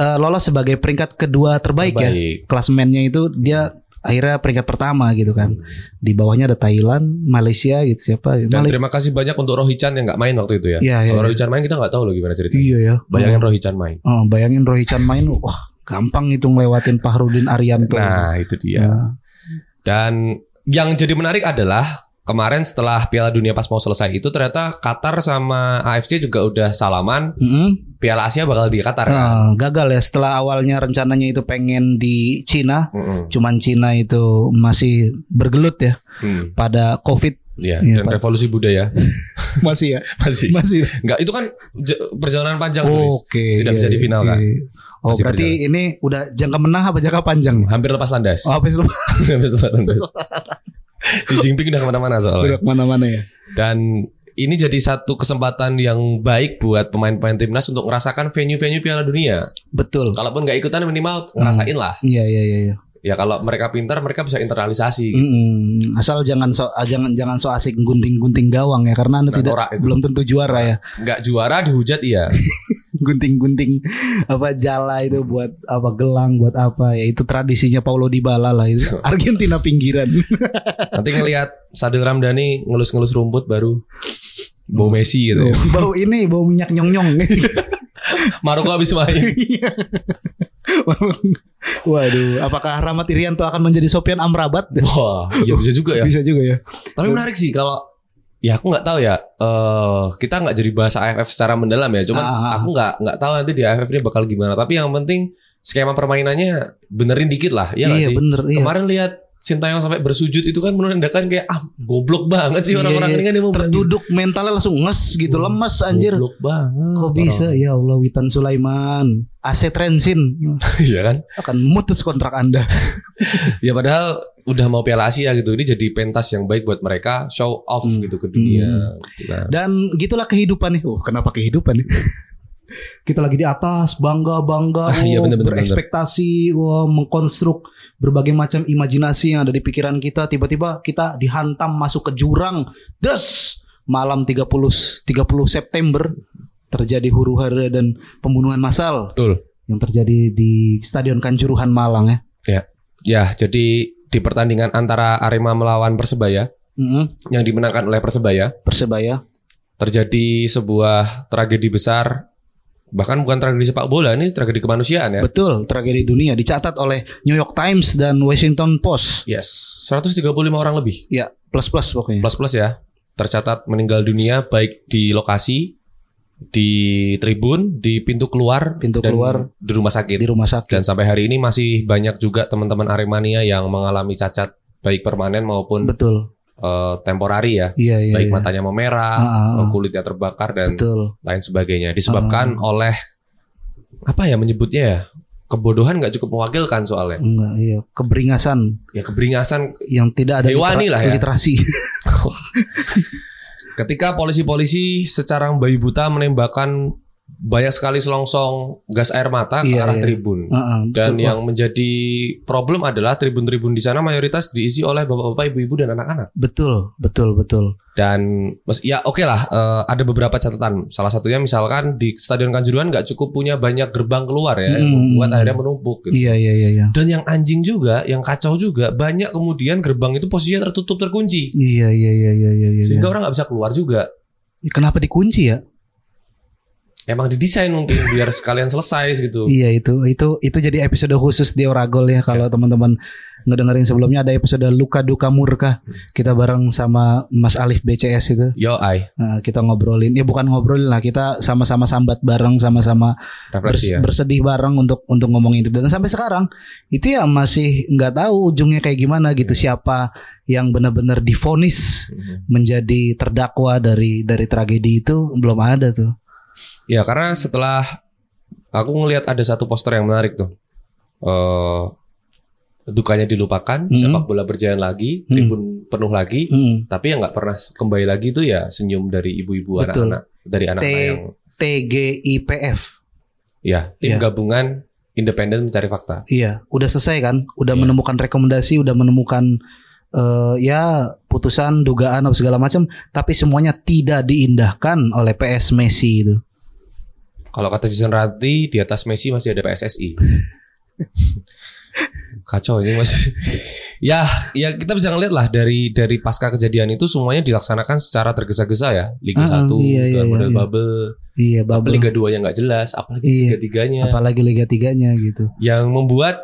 S1: eh, lolos sebagai peringkat kedua terbaik, ya
S2: Baik.
S1: klasemennya itu dia akhirnya peringkat pertama gitu kan di bawahnya ada Thailand Malaysia gitu siapa
S2: Dan
S1: Malaysia
S2: terima kasih banyak untuk Rohichan yang nggak main waktu itu ya.
S1: Iya, iya,
S2: Kalau
S1: iya.
S2: Rohichan main kita nggak tahu loh gimana ceritanya.
S1: iya ya
S2: Bayangin Rohichan main.
S1: Oh, bayangin Roy Chan main, wah gampang itu ngelewatin Pahrudin Arianto.
S2: Nah itu dia.
S1: Ya.
S2: Dan yang jadi menarik adalah kemarin setelah Piala Dunia pas mau selesai itu ternyata Qatar sama AFC juga udah salaman.
S1: Mm-mm.
S2: Piala Asia bakal di Qatar kan.
S1: Ah, gagal ya setelah awalnya rencananya itu pengen di Cina,
S2: Mm-mm.
S1: cuman Cina itu masih bergelut ya
S2: Hmm.
S1: pada COVID
S2: Iya,
S1: Iya,
S2: dan
S1: Pak.
S2: revolusi budaya
S1: <laughs>
S2: <laughs>
S1: masih ya
S2: masih.
S1: masih.
S2: Enggak, itu kan j- perjalanan panjang
S1: Oh.
S2: Luis.
S1: Oke, iya,
S2: Tidak bisa di final, kan?
S1: Oh
S2: Masih
S1: berarti ini udah jangka menang apa jangka panjang? nih?
S2: Hampir lepas landas.
S1: Oh, habis lu
S2: <laughs> Hampir lepas landas. Xi Jinping udah kemana-mana soalnya.
S1: udah kemana-mana ya?
S2: Dan ini jadi satu kesempatan yang baik buat pemain-pemain timnas untuk merasakan venue-venue Piala Dunia.
S1: Betul.
S2: Kalaupun nggak ikutan minimal ngerasain lah.
S1: Iya iya iya. iya.
S2: Ya kalau mereka pintar mereka bisa
S1: Hmm.
S2: internalisasi.
S1: Mm-mm. Asal jangan so ah, jangan jangan so asik gunting-gunting gawang ya karena anda
S2: Nah,
S1: tidak
S2: norak itu.
S1: belum tentu juara ya.
S2: Nggak juara dihujat iya.
S1: Gunting-gunting apa jala itu buat apa gelang buat apa ya itu tradisinya Paulo Dybala lah
S2: <laughs>
S1: itu. Argentina pinggiran.
S2: Gitu Nanti ngelihat Sadil Ramdhani ngelus-ngelus rumput baru bau Messi gitu. ya.
S1: <laughs> bau ini bau minyak nyong-nyong. <laughs>
S2: Maroko habis main.
S1: Waduh, apakah Rahmat Irianto akan menjadi Sofian Amrabat?
S2: Wah, iya bisa juga ya.
S1: Bisa juga ya.
S2: Tapi menarik sih kalau ya aku nggak tahu ya. eh kita nggak jadi bahasa AFF secara mendalam ya. Cuman
S1: Ah, ah, ah.
S2: aku nggak nggak tahu nanti di AFF ini bakal gimana. Tapi yang penting skema permainannya benerin dikit lah. Iya, nggak
S1: iya
S2: sih.
S1: bener. Iya.
S2: Kemarin lihat Sintayong sampai bersujud itu kan menandakan kayak ah goblok banget sih
S1: Iya,
S2: orang-orang
S1: iya.
S2: ini kan yang mau
S1: Terduduk mentalnya langsung nges gitu, lemes
S2: berani.
S1: anjir.
S2: Goblok banget.
S1: Kok bisa ya Allah Witan Sulaiman, Aset Rensin
S2: orang. <laughs> Iya kan?
S1: akan mutus kontrak Anda.
S2: Ya padahal udah mau Piala Asia gitu. Ini jadi pentas yang baik buat mereka show off
S1: Hmm.
S2: gitu ke dunia. Nah,
S1: Dan gitulah kehidupan nih. Oh, kenapa kehidupan nih? <laughs> Kita lagi di atas bangga bangga,
S2: Ah, iya,
S1: oh,
S2: bener, bener,
S1: berekspektasi, oh, mengkonstruk berbagai macam imajinasi yang ada di pikiran kita. Tiba-tiba kita dihantam masuk ke jurang. Des malam 30 30 September terjadi huru-hara dan pembunuhan massal
S2: Betul.
S1: yang terjadi di Stadion Kanjuruhan Malang ya.
S2: Ya, jadi di pertandingan antara Arema melawan Persebaya
S1: Mm-mm.
S2: yang dimenangkan oleh Persebaya
S1: Persebaya.
S2: terjadi sebuah tragedi besar bahkan bukan tragedi sepak bola ini tragedi kemanusiaan ya.
S1: Betul, tragedi dunia dicatat oleh New York Times dan Washington Post.
S2: Yes, 135 orang lebih
S1: Ya, plus-plus pokoknya.
S2: plus-plus ya tercatat meninggal dunia baik di lokasi di tribun, di pintu keluar,
S1: Pintu
S2: dan
S1: keluar.
S2: di rumah sakit.
S1: di rumah sakit.
S2: Dan sampai hari ini masih banyak juga teman-teman Aremania yang mengalami cacat baik permanen maupun
S1: Betul.
S2: eh, temporari ya.
S1: Iya, iya.
S2: baik
S1: iya.
S2: matanya memerah,
S1: Ah, ah, ah.
S2: kulitnya terbakar dan
S1: Betul.
S2: lain sebagainya disebabkan
S1: Ah.
S2: oleh apa ya menyebutnya ya kebodohan nggak cukup mewakilkan soalnya
S1: Enggak, iya. Keberingasan
S2: ya keberingasan
S1: yang tidak ada
S2: Hewani lah ya.
S1: literasi. <laughs>
S2: ketika polisi-polisi secara bayi buta menembakkan banyak sekali selongsong gas air mata ke
S1: Iya,
S2: arah
S1: iya.
S2: tribun
S1: Heeh,
S2: dan
S1: betul.
S2: yang menjadi problem adalah tribun-tribun di sana mayoritas diisi oleh bapak-bapak, ibu-ibu dan anak-anak
S1: betul, betul, betul.
S2: Dan mes- ya oke lah eh, ada beberapa catatan. Salah satunya misalkan di Stadion Kanjuruhan nggak cukup punya banyak gerbang keluar ya, yang
S1: Hmm.
S2: membuat akhirnya menumpuk. Gitu.
S1: Iya, iya, iya, iya.
S2: Dan yang anjing juga, yang kacau juga, banyak kemudian gerbang itu posisinya tertutup terkunci,
S1: Iya, iya, iya, iya, iya, iya.
S2: sehingga orang nggak bisa keluar juga.
S1: Kenapa dikunci ya?
S2: Emang didesain
S1: <laughs>
S2: mungkin biar sekalian selesai gitu.
S1: Iya, itu itu itu jadi episode khusus di Oragol ya kalau teman-teman ngedengerin sebelumnya ada episode luka duka murka
S2: Hmm.
S1: kita bareng sama Mas Alif BCS itu
S2: Yo ai,
S1: Nah, kita ngobrolin ya bukan ngobrolin lah kita sama-sama sambat bareng sama-sama bers-
S2: refleksi ya.
S1: bersedih bareng untuk untuk ngomongin itu dan sampai sekarang itu ya masih nggak tahu ujungnya kayak gimana gitu
S2: Iya.
S1: siapa yang benar-benar difonis
S2: Mhm.
S1: menjadi terdakwa dari dari tragedi itu belum ada tuh
S2: Ya karena setelah aku ngelihat ada satu poster yang menarik tuh. Eh dukanya dilupakan,
S1: Mm-mm.
S2: sepak bola berjalan lagi,
S1: Mm.
S2: tribun penuh lagi.
S1: Mm.
S2: tapi yang nggak pernah kembali lagi itu ya senyum dari ibu-ibu
S1: Betul.
S2: anak-anak dari anak-anak
S1: T-
S2: yang
S1: TGIPF
S2: ya tim
S1: Iya.
S2: gabungan independen mencari fakta
S1: iya udah selesai kan udah
S2: Iya.
S1: menemukan rekomendasi udah menemukan eh, ya putusan dugaan apa segala macam tapi semuanya tidak diindahkan oleh PS Messi itu
S2: kalau kata Jason Ranti di atas Messi masih ada
S1: <laughs>
S2: PSSI kacau ini mas ya ya kita bisa ngeliat lah dari dari pasca kejadian itu semuanya dilaksanakan secara tergesa-gesa ya Liga
S1: Ah,
S2: 1
S1: iya, iya, iya,
S2: dengan model
S1: iya.
S2: bubble
S1: iya
S2: Tapi
S1: babel
S2: Liga 2 nya nggak jelas apalagi
S1: Iya.
S2: Liga 3 nya
S1: apalagi Liga tiganya gitu
S2: yang membuat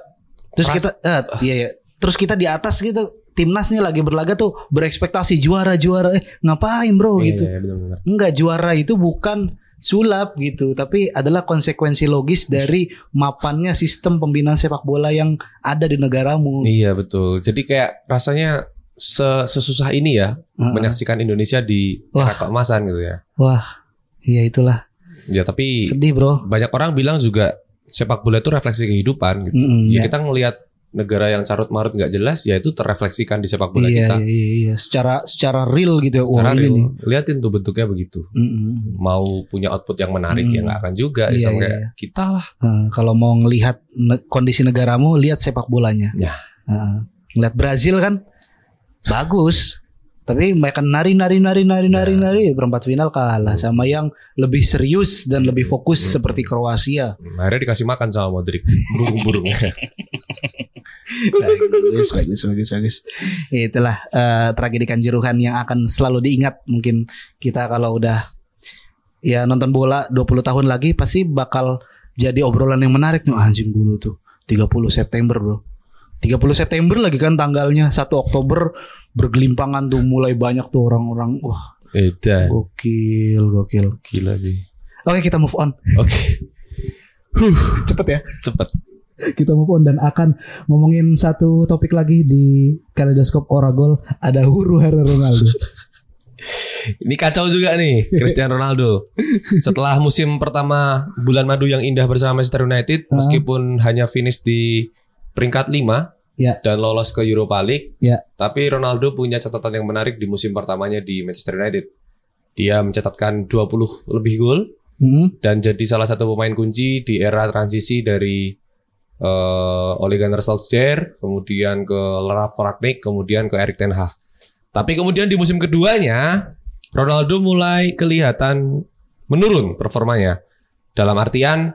S1: Terus
S2: Pras-
S1: kita eh, iya, iya. Terus kita di atas gitu timnas nih lagi berlaga tuh berekspektasi juara juara eh ngapain bro gitu.
S2: Iya, iya, benar-benar.
S1: Enggak juara itu bukan sulap gitu, tapi adalah konsekuensi logis dari mapannya sistem pembinaan sepak bola yang ada di negaramu.
S2: Iya betul. Jadi kayak rasanya se- sesusah ini ya
S1: Heeh.
S2: menyaksikan Indonesia di
S1: Wah.
S2: era keemasan gitu ya.
S1: Wah, ya itulah
S2: Ya tapi
S1: sedih bro.
S2: banyak orang bilang juga sepak bola itu refleksi kehidupan gitu.
S1: Mm-mm,
S2: ya,
S1: ya.
S2: kita ngelihat negara yang carut marut nggak jelas ya itu terrefleksikan di sepak bola
S1: iya,
S2: kita.
S1: iya, iya, iya. secara secara real gitu. ya. Wah,
S2: Secara
S1: ini
S2: real.
S1: nih.
S2: Liatin tuh bentuknya begitu.
S1: Mm-mm.
S2: Mau punya output yang menarik
S1: Mm.
S2: ya nggak akan juga ya
S1: Iya,
S2: sama
S1: iya,
S2: kayak kita lah.
S1: Eh, kalau mau ngelihat ne- kondisi negaramu, lihat sepak bolanya.
S2: Ya.
S1: Eh, ngelihat Brazil kan bagus, tapi mereka nari nari nari nari nari
S2: Ya.
S1: nari perempat final kalah sama yang lebih serius dan lebih fokus
S2: Hmm.
S1: seperti Kroasia.
S2: Hmm, Akhirnya dikasih makan sama Modric <laughs>
S1: <laughs>
S2: burung-burungnya.
S1: Nah, bagus, bagus, bagus, bagus. Ya, Itulah eh, tragedi kanjuruhan yang akan selalu diingat mungkin kita kalau udah ya nonton bola 20 tahun lagi pasti bakal jadi obrolan yang menarik nih "Ah, anjing dulu tuh 30 September bro 30 September lagi kan tanggalnya 1 Oktober bergelimpangan tuh mulai banyak tuh orang-orang wah
S2: Edan,
S1: gokil gokil
S2: gila sih.
S1: oke kita move on <laughs>
S2: Oke, <laughs>
S1: cepet ya
S2: cepet.
S5: kita move on dan akan ngomongin satu topik lagi di Kaleidoskop Oragol ada huru hara Ronaldo.
S2: Ini kacau juga nih Cristiano Ronaldo. Setelah musim pertama bulan madu yang indah bersama Manchester United,
S5: Ah.
S2: meskipun hanya finish di peringkat 5
S5: Ya.
S2: dan lolos ke Europa League,
S5: Ya.
S2: tapi Ronaldo punya catatan yang menarik di musim pertamanya di Manchester United. Dia mencatatkan 20 lebih gol
S5: Hmm,
S2: dan jadi salah satu pemain kunci di era transisi dari eh Ole Gunnar Solskjaer, kemudian ke Ralf Ragnick, kemudian ke Erik Ten Hag. Tapi kemudian di musim keduanya Ronaldo mulai kelihatan menurun performanya. Dalam artian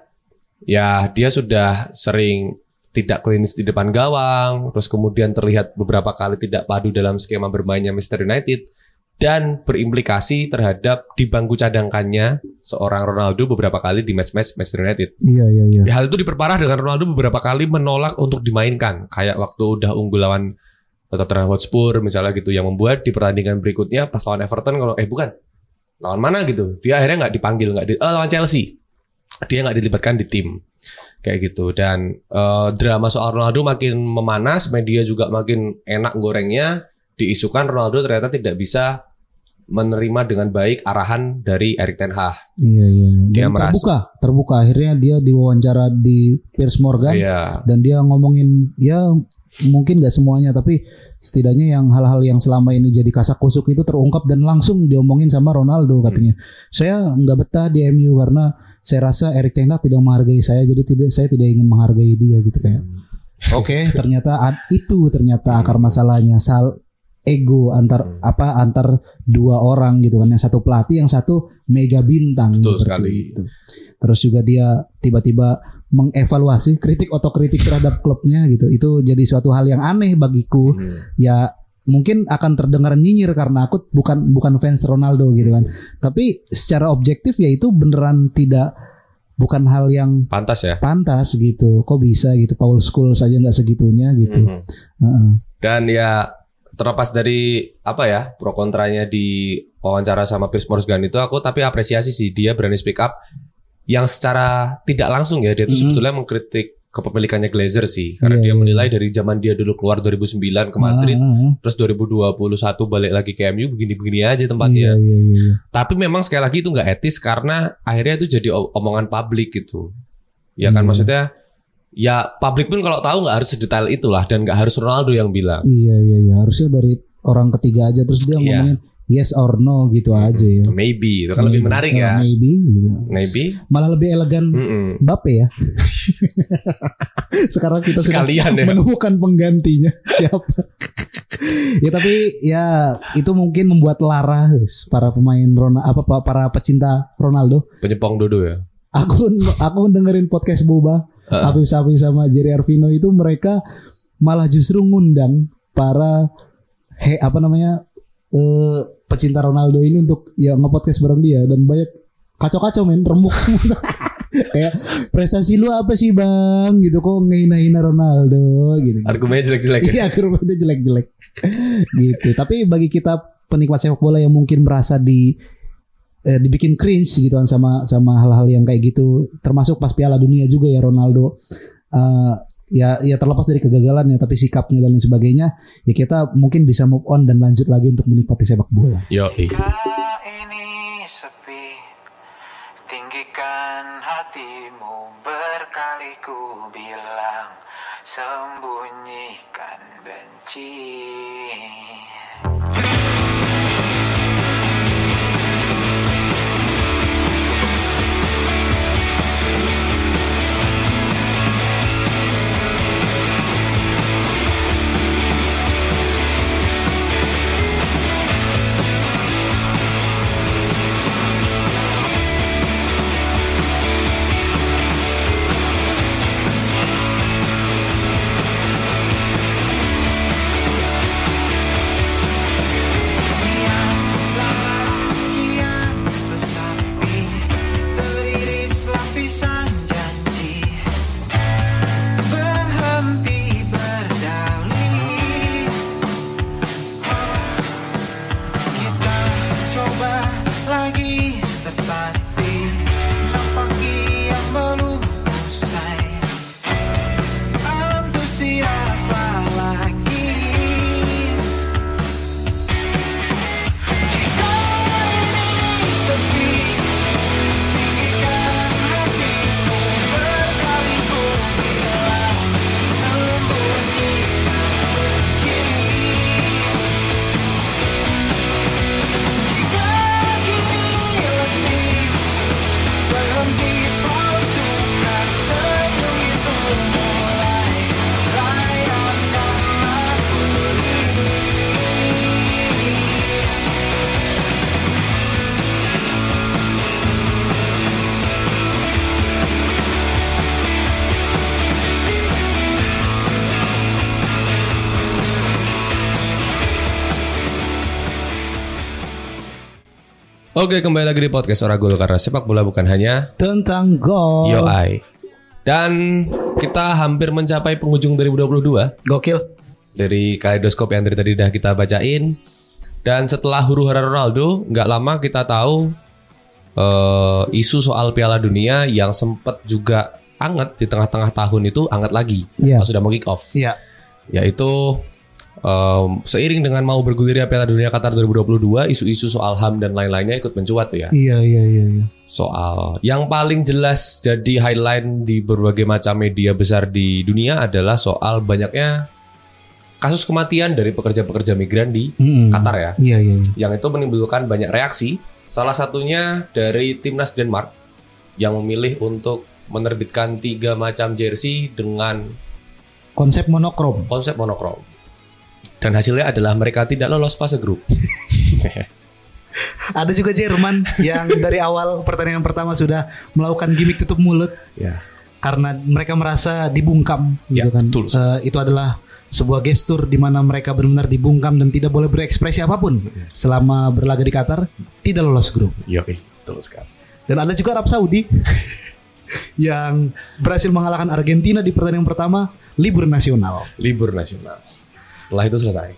S2: ya dia sudah sering tidak klinis di depan gawang, terus kemudian terlihat beberapa kali tidak padu dalam skema bermainnya Manchester United dan berimplikasi terhadap di bangku cadangkannya seorang Ronaldo beberapa kali di match-match Manchester United.
S5: iya iya iya.
S2: Hal itu diperparah dengan Ronaldo beberapa kali menolak untuk dimainkan. Kayak waktu udah unggul lawan Tottenham Hotspur misalnya gitu yang membuat di pertandingan berikutnya pas lawan Everton kalau eh bukan lawan mana gitu dia akhirnya nggak dipanggil nggak di eh, lawan Chelsea dia nggak dilibatkan di tim kayak gitu dan eh, drama soal Ronaldo makin memanas media juga makin enak gorengnya diisukan Ronaldo ternyata tidak bisa menerima dengan baik arahan dari Erik Ten Hag
S5: Iya iya. Dan
S2: Dia merasa-
S5: terbuka, terbuka. Akhirnya dia diwawancara di Piers Morgan
S2: Iya.
S5: dan dia ngomongin ya mungkin nggak semuanya tapi setidaknya yang hal-hal yang selama ini jadi kasak kusuk itu terungkap dan langsung diomongin sama
S2: Hmm.
S5: Ronaldo katanya. Saya nggak betah di MU karena saya rasa Erik Ten Hag tidak menghargai saya jadi tidak saya tidak ingin menghargai dia gitu kayak.
S2: Hmm.
S5: <laughs>
S1: oke
S5: ternyata ad- itu ternyata akar masalahnya sal ego antar
S2: Hmm.
S5: apa antar dua orang gitu kan yang satu pelatih yang satu mega bintang
S2: Betul
S5: seperti
S2: sekali.
S5: itu. Terus juga dia tiba-tiba mengevaluasi kritik otokritik terhadap klubnya gitu. Itu jadi suatu hal yang aneh bagiku.
S2: Hmm.
S5: Ya mungkin akan terdengar nyinyir karena aku bukan bukan fans Ronaldo gitu kan. Tapi secara objektif ya itu beneran tidak bukan hal yang
S2: pantas ya
S5: pantas gitu. Kok bisa gitu? Paul Scholes saja nggak segitunya gitu.
S2: Mhm.
S5: Heeh.
S2: Dan ya terlepas dari apa ya pro kontranya di wawancara sama Piers Morgan itu aku tapi apresiasi sih dia berani speak up yang secara tidak langsung ya dia itu
S1: Mhm.
S2: sebetulnya mengkritik kepemilikannya Glazer sih karena
S5: Hmm. Iya,
S2: dia
S5: iya.
S2: menilai dari zaman dia dulu keluar 2009 ke Madrid
S5: Ah, ah, ah.
S2: terus 2021 balik lagi ke MU begini-begini aja tempatnya.
S5: Iya, iya, iya, iya.
S2: Tapi memang sekali lagi itu nggak etis karena akhirnya itu jadi o- omongan publik gitu. Ya kan
S5: Iya.
S2: maksudnya ya publik pun kalau tahu nggak harus sedetail itulah dan nggak harus Ronaldo yang bilang.
S5: Iya, iya, iya. Harusnya dari orang ketiga aja terus dia
S2: Iya.
S5: ngomongin yes or no gitu aja ya.
S2: Maybe itu kan lebih
S5: Maybe.
S2: menarik
S5: Eh,
S2: ya.
S5: Maybe gitu.
S2: Maybe. Hmm.
S5: Malah lebih elegan
S2: Mm-mm.
S5: Bape ya. <laughs> Sekarang kita sudah
S2: Sekalian
S5: <laughs>
S2: ya.
S5: menemukan
S2: <laughs>
S5: penggantinya siapa. ya tapi ya itu mungkin membuat lara guys, para pemain Ronaldo apa pa- para pecinta Ronaldo.
S2: Penyepong Dodo ya.
S5: Aku aku dengerin podcast Boba,
S2: Heeh.
S5: Habib Sapi sama Jerry Arvino itu mereka malah justru ngundang para he apa namanya eh, pecinta Ronaldo ini untuk ya ngepodcast bareng dia dan banyak kacau-kacau men remuk semua <laughs> kayak prestasi lu apa sih bang gitu kok ngehina-hina Ronaldo gitu
S2: Argumennya jelek-jelek. ya?
S5: <laughs> iya kerupuknya jelek-jelek <laughs> gitu tapi bagi kita penikmat sepak bola yang mungkin merasa di eh, dibikin cringe gitu kan sama sama hal-hal yang kayak gitu termasuk pas Piala Dunia juga ya Ronaldo Eh, ya ya terlepas dari kegagalannya tapi sikapnya dan lain sebagainya ya kita mungkin bisa move on dan lanjut lagi untuk menikmati sepak bola
S2: Yo,
S6: Jika ini sepi Tinggikan hatimu Berkali ku bilang Sembunyikan benci Kian bersapi teriris lapisan janji berhenti berdalih kita coba lagi tetapi nampaknya yang belum usai antusiaslah lagi jika ini sepi, tinggikan hatimu berkali ku bilang sembunyi benci. Jika ini lebih berhenti palsukan senyum itu mulai layankan aku
S2: Oke, kembali lagi di podcast Ora Gol karena sepak bola bukan hanya
S5: tentang gol
S2: yo ah. I. Dan kita hampir mencapai penghujung 2022
S1: Gokil.
S2: dari kaleidoskop yang dari tadi udah kita bacain. Dan setelah huru hara Ronaldo, nggak lama kita tahu eh, isu soal Piala Dunia yang sempat juga anget di tengah-tengah tahun itu anget lagi
S5: Iya.
S2: pas sudah mau kick off.
S1: Iya.
S2: yaitu um, seiring dengan mau bergulirnya Piala Dunia Qatar 2022, isu-isu soal HAM dan lain-lainnya ikut mencuat tuh ya.
S5: iya iya iya, iya.
S2: Soal yang paling jelas jadi highlight di berbagai macam media besar di dunia adalah soal banyaknya kasus kematian dari pekerja-pekerja migran di
S5: Mm-mm.
S2: Qatar ya,
S5: iya iya iya.
S2: yang itu menimbulkan banyak reaksi. Salah satunya dari timnas Denmark yang memilih untuk menerbitkan tiga macam jersey dengan
S5: konsep monokrom
S2: konsep monokrom. Dan hasilnya adalah mereka tidak lolos fase grup.
S1: Ada juga Jerman yang dari awal pertandingan pertama sudah melakukan gimmick tutup mulut
S2: ya.
S1: karena mereka merasa dibungkam
S2: Ya,
S1: gitu kan.
S2: betul.
S1: Eh, itu adalah sebuah gestur di mana mereka benar-benar dibungkam dan tidak boleh berekspresi apapun selama berlaga di Qatar tidak lolos grup.
S2: Iya, betul sekali.
S1: Dan ada juga Arab Saudi <laughs> yang berhasil mengalahkan Argentina di pertandingan pertama libur nasional. <laughs>
S2: Libur nasional. Setelah itu selesai.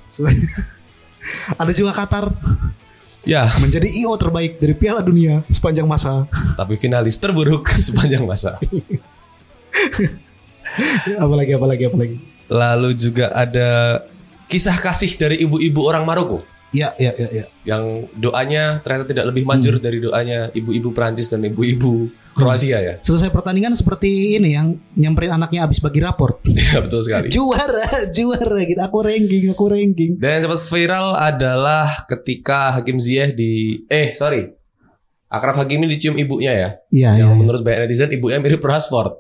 S1: ada juga Qatar
S2: Ya,
S1: menjadi IO terbaik dari Piala Dunia sepanjang masa. <laughs>
S2: tapi finalis terburuk <laughs> sepanjang masa.
S1: apalagi apalagi apalagi.
S2: Lalu juga ada kisah kasih dari ibu-ibu orang Maroko
S1: Ya ya ya ya.
S2: yang doanya ternyata tidak lebih manjur
S1: Hmm.
S2: dari doanya ibu-ibu Prancis dan ibu-ibu Kroasia ya. <laughs>
S1: Selesai pertandingan seperti ini yang nyamperin anaknya habis bagi rapor.
S2: Iya, betul sekali.
S1: juara, <laughs> juara gitu. Aku ranking, aku ranking.
S2: Dan yang sempat viral adalah ketika Hakim Ziyech di eh sorry. Akraf Hakimi dicium ibunya ya.
S1: Iya,
S2: yang
S1: iya.
S2: menurut banyak netizen ibunya mirip Rashford.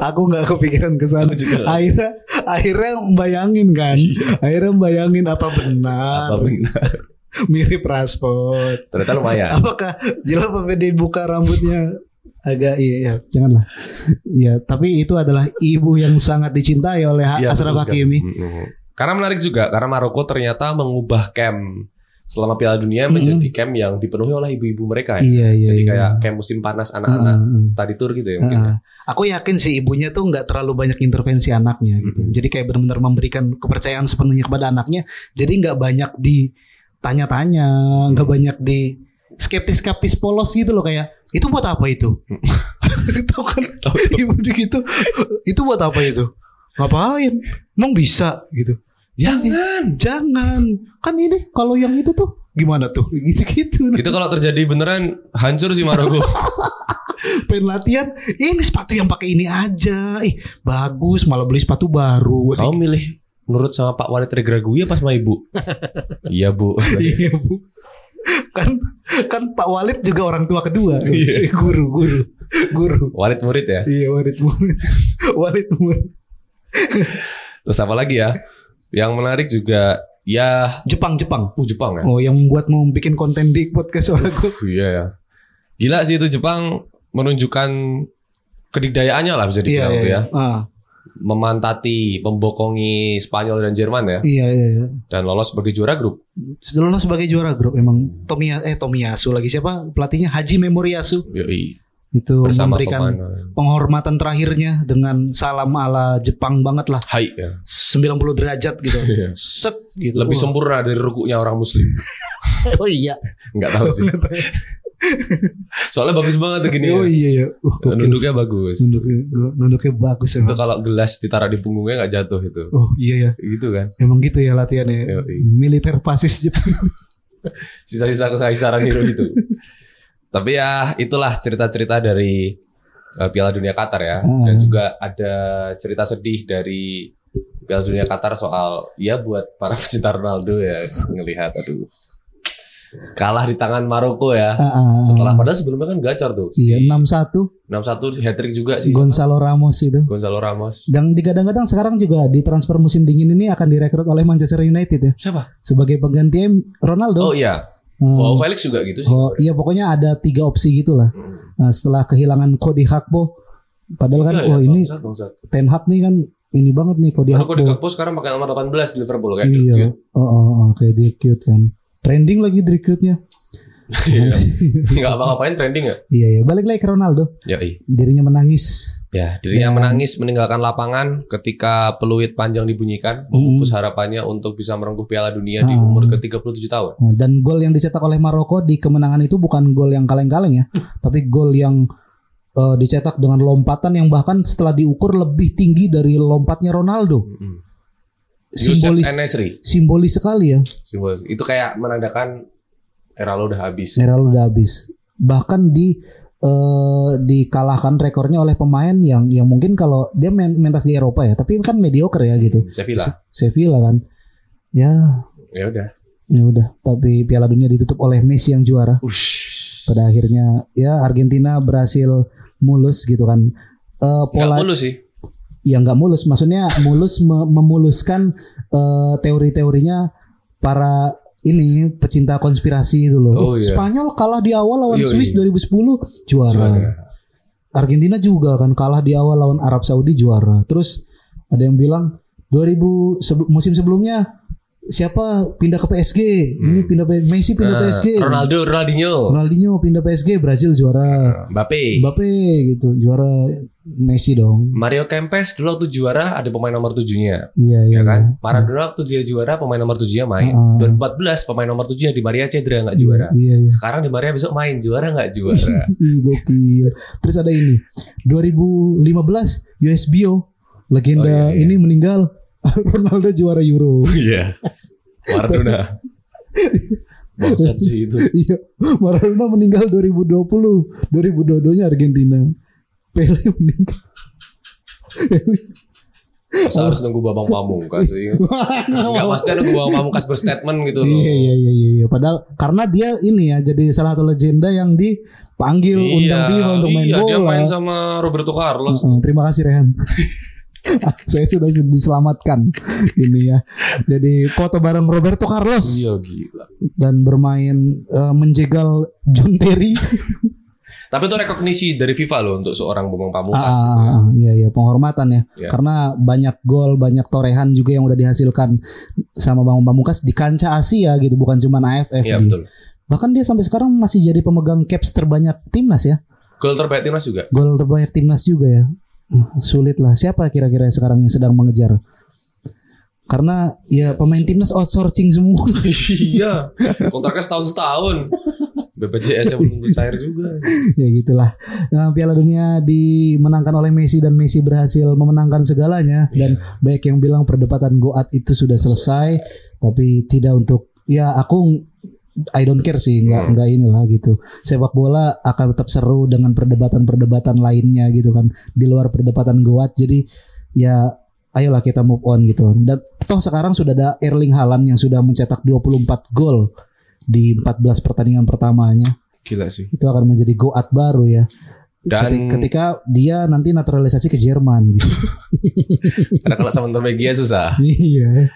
S1: Aku nggak kepikiran ke sana.
S2: Aku juga nggak. Iya.
S1: Akhirnya akhirnya bayangin kan. Akhirnya bayangin apa benar
S2: Apa benar?
S1: mirip Rashford.
S2: Ternyata lumayan.
S1: <laughs> Apakah jelas apa dibuka rambutnya agak iya.
S5: janganlah ya tapi itu adalah ibu yang sangat dicintai oleh
S2: Iya,
S5: Ashraf
S2: betul sekali.
S5: Hakimi
S2: Mm-mm. Karena menarik juga karena Maroko ternyata mengubah camp selama Piala Dunia menjadi camp yang dipenuhi oleh ibu-ibu mereka ya.
S1: Iya iya.
S2: Jadi
S1: iya. Ah.
S2: kayak camp musim panas anak-anak
S1: Heeh, heeh.
S2: study tour gitu ya mungkin. ya.
S1: Heeh. Aku yakin si ibunya tuh nggak terlalu banyak intervensi anaknya gitu. Jadi kayak benar-benar memberikan kepercayaan sepenuhnya kepada anaknya. Jadi nggak banyak ditanya-tanya, nggak banyak di skeptis-skeptis polos gitu loh kayak itu buat apa itu? Mm. <laughs> Tahu kan ibu dia gitu. Itu buat apa itu? Ngapain? Emang bisa gitu. Jangan, jangan. Kan ini kalau yang itu tuh gimana tuh? <laughs> Gitu-gitu.
S2: Itu kalau terjadi beneran hancur sih
S1: <laughs>
S2: Maroko.
S1: pengen latihan ini sepatu yang pakai ini aja ih bagus malah beli sepatu baru
S2: Kamu milih menurut sama Pak Walit Regraguya pas sama ibu. iya bu.
S1: <laughs> iya bu kan kan Pak Walid juga orang tua kedua
S2: Iya.
S1: Si guru guru guru
S2: Walit murid ya.
S1: iya Walid murid <laughs> Walid murid
S2: Terus apa lagi ya? Yang menarik juga ya
S1: Jepang Jepang
S2: uh, Jepang ya.
S1: oh yang membuat mau bikin konten di podcast orang gue
S2: Puh, iya ya. Gila sih itu Jepang menunjukkan kedikdayaannya lah
S1: Iya,
S2: bisa dibilang tuh ya.
S1: Ah,
S2: Memantati, membokongi Spanyol dan Jerman ya
S1: iya iya iya.
S2: dan lolos sebagai juara grup.
S1: Lolos sebagai juara grup emang Tomia eh Tomiyasu lagi siapa pelatihnya Haji Memoriyasu
S2: Yoi.
S1: itu
S2: Bersama
S1: memberikan
S2: pemain.
S1: penghormatan terakhirnya dengan salam ala Jepang banget lah
S2: Hai ya.
S1: 90 derajat gitu.
S2: <laughs> Iya.
S1: Set gitu.
S2: Lebih
S1: Iya. Wah.
S2: sempurna dari rukuknya orang muslim. <laughs>
S1: Oh iya.
S2: Enggak tahu sih. Soalnya bagus banget tuh gini.
S1: Oh
S2: Ya.
S1: iya iya. Wah, gokil.
S2: Nunduknya bagus.
S1: nunduknya, nunduknya bagus
S2: Itu
S1: emang.
S2: kalau gelas ditaruh di punggungnya nggak jatuh itu.
S1: Oh iya ya.
S2: Gitu kan.
S1: Emang gitu ya latihannya.
S2: Iya, iya.
S1: Militer fasis gitu. Jepang.
S2: Sisa-sisa kekaisaran hero
S5: <laughs>
S2: itu. Tapi ya itulah cerita-cerita dari eh, Piala Dunia Qatar ya.
S1: Hmm.
S2: Dan juga ada cerita sedih dari Piala Dunia Qatar soal ya buat para <laughs> pecinta Ronaldo ya ngelihat aduh kalah di tangan Maroko ya. Setelah padahal sebelumnya kan gacor tuh.
S5: Ah, Hmm. Iya,
S2: Si
S5: 61
S2: 61 hat trick juga sih.
S5: Gonzalo Ramos itu.
S2: Gonzalo Ramos.
S5: Dan digadang-gadang sekarang juga di transfer musim dingin ini akan direkrut oleh Manchester United ya
S2: Siapa?
S5: sebagai pengganti
S2: Oh
S5: Ronaldo.
S2: iya.
S5: Hmm.
S2: Oh, Felix juga gitu sih.
S5: Oh, iya pokoknya ada tiga opsi gitulah. Nah, setelah kehilangan Cody Hakpo, padahal kan
S2: Iya,
S5: oh
S2: iya,
S5: ini
S2: bangsat, bangsat.
S5: Ten Hag nih kan ini banget nih Cody
S2: Baru
S5: Hakpo.
S2: kok di Gakpo sekarang pakai nomor 18 di Liverpool kayak
S5: iya.
S2: gitu.
S5: Oh, oh, oh, kayak dia cute kan. Trending lagi recruitnya.
S2: Iya. <laughs> Enggak apa-apain trending ya.
S5: Iya, iya. Balik lagi ke Ronaldo.
S2: Ya,
S5: Dirinya menangis.
S2: ya dirinya
S5: Dan-
S2: menangis meninggalkan lapangan ketika peluit panjang
S5: Hmm.
S2: dibunyikan, memupus harapannya untuk bisa merengkuh Piala Dunia di
S5: Ah.
S2: umur ke-37 tahun.
S5: Nah, Dan gol yang dicetak oleh Maroko di kemenangan itu bukan gol yang kaleng-kaleng ya, tapi gol yang eh, dicetak dengan lompatan yang bahkan setelah diukur lebih tinggi dari lompatnya Ronaldo.
S2: Mm-mm.
S5: Simbolis,
S2: Youssef Enesri.
S5: simbolis sekali ya.
S2: Simbolis. Itu kayak menandakan era lo udah habis.
S5: Era lu udah habis. Bahkan di eh, dikalahkan rekornya oleh pemain yang yang mungkin kalau dia main mentas di Eropa ya, tapi kan mediocre ya gitu.
S2: Sevilla.
S5: Sevilla kan. Ya,
S2: Ya udah.
S5: ya udah, tapi Piala Dunia ditutup oleh Messi yang juara. pada akhirnya ya Argentina berhasil mulus gitu kan Eh
S2: Enggak
S5: pola
S2: mulu sih.
S5: yang Ya, nggak mulus maksudnya mulus me- memuluskan eh, teori-teorinya para ini pecinta konspirasi itu loh
S2: Oh,
S5: Eh,
S2: iya.
S5: Spanyol kalah di awal lawan
S2: Yoi.
S5: Swiss 2010 juara.
S2: Juara.
S5: Argentina juga kan kalah di awal lawan Arab Saudi juara terus ada yang bilang 2000 sebe- musim sebelumnya siapa pindah ke PSG ini pindah ke- Messi pindah
S2: Nah,
S5: PSG
S2: Hmm. Ronaldo, Ronaldinho,
S5: Ronaldinho pindah PSG Brazil juara
S2: Mbappe.
S5: Mbappe gitu juara Messi dong
S2: Mario Kempes dulu waktu juara ada pemain nomor tujuhnya.
S5: iya iya
S2: ya kan? Maradona waktu dia juara pemain nomor 7-nya main.
S5: Heeh.
S2: 2014 pemain nomor 7-nya di Maria Cedra nggak juara.
S5: iya iya
S2: Sekarang di Maria besok main juara nggak
S5: <laughs>
S2: juara.
S5: Ih, gokil terus ada ini 2015 USBO legenda
S2: Oh, iya, iya.
S5: ini meninggal <laughs> Ronaldo juara Euro
S2: Iya. Maradona. Bangsat sih itu.
S5: iya Maradona meninggal 2020 2022 nya Argentina Pele <laughs> meninggal
S2: Masa harus nunggu Bambang Pamungkas sih. Enggak maksudnya nunggu Bambang Pamungkas berstatement gitu loh.
S5: Iya iya iya iya, iya. Padahal karena dia ini ya jadi salah satu legenda yang dipanggil Iya, undang FIFA untuk main
S2: iya,
S5: bola.
S2: dia main sama Roberto Carlos.
S5: Mm-mm, terima kasih
S2: <laughs>
S5: Rehan. Ah, Saya sudah diselamatkan ini ya. Jadi foto bareng Roberto Carlos
S2: Iya gila.
S5: dan bermain eh, menjegal John Terry.
S2: Tapi itu rekognisi dari FIFA loh untuk seorang Bambang Pamungkas. gitu ya.
S5: Ah, iya iya penghormatan ya.
S2: Iya.
S5: Karena banyak gol, banyak torehan juga yang udah dihasilkan sama Bang Pamungkas di kancah Asia gitu, bukan cuma AFF.
S2: Iya
S5: Di.
S2: betul.
S5: gitu. Bahkan dia sampai sekarang masih jadi pemegang caps terbanyak timnas ya.
S2: Gol terbaik timnas juga.
S5: Gol terbanyak timnas juga ya. Hmm, Sulit lah. Siapa kira-kira sekarang yang sedang mengejar? Karena ya pemain timnas outsourcing semua sih.
S2: iya. Kontraknya setahun <laughs> setahun. BPJS nya belum cair juga.
S5: ya gitulah. Nah, Piala Dunia dimenangkan oleh Messi dan Messi berhasil memenangkan segalanya dan banyak yang bilang perdebatan Goat itu sudah selesai tapi tidak untuk ya aku I don't care sih nggak nggak inilah gitu sepak bola akan tetap seru dengan perdebatan-perdebatan lainnya gitu kan di luar perdebatan Goat jadi ya ayolah kita move on gitu dan toh sekarang sudah ada Erling Haaland yang sudah mencetak 24 gol di 14 pertandingan pertamanya
S2: Gila sih.
S5: itu akan menjadi goat baru ya.
S2: Dan-
S5: Keti- ketika dia nanti naturalisasi ke Jerman
S2: <laughs>
S5: gitu.
S2: Karena kalau sama Norwegia susah.
S5: iya.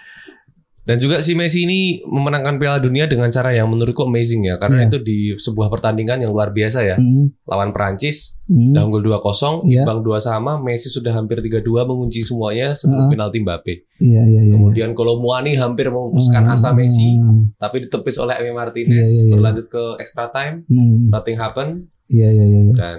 S2: Dan juga si Messi ini memenangkan Piala Dunia dengan cara yang menurutku amazing ya. Karena
S5: Iya.
S2: itu di sebuah pertandingan yang luar biasa ya.
S5: Mm,
S2: Lawan Perancis,
S5: mm.
S2: udah unggul 2-0,
S5: Iya.
S2: bang 2 sama, Messi sudah hampir 3-2 mengunci semuanya sebelum
S5: Heeh.
S2: penalti Mbappe.
S5: Iya iya Ah, iya.
S2: Kemudian Kolomwani hampir memupuskan asa Messi,
S5: Mm,
S2: tapi ditepis oleh Emi
S5: Iya,
S2: Martinez,
S5: iya, iya.
S2: berlanjut ke extra time,
S5: mm.
S2: nothing happen
S5: Iya iya iya. iya.
S2: dan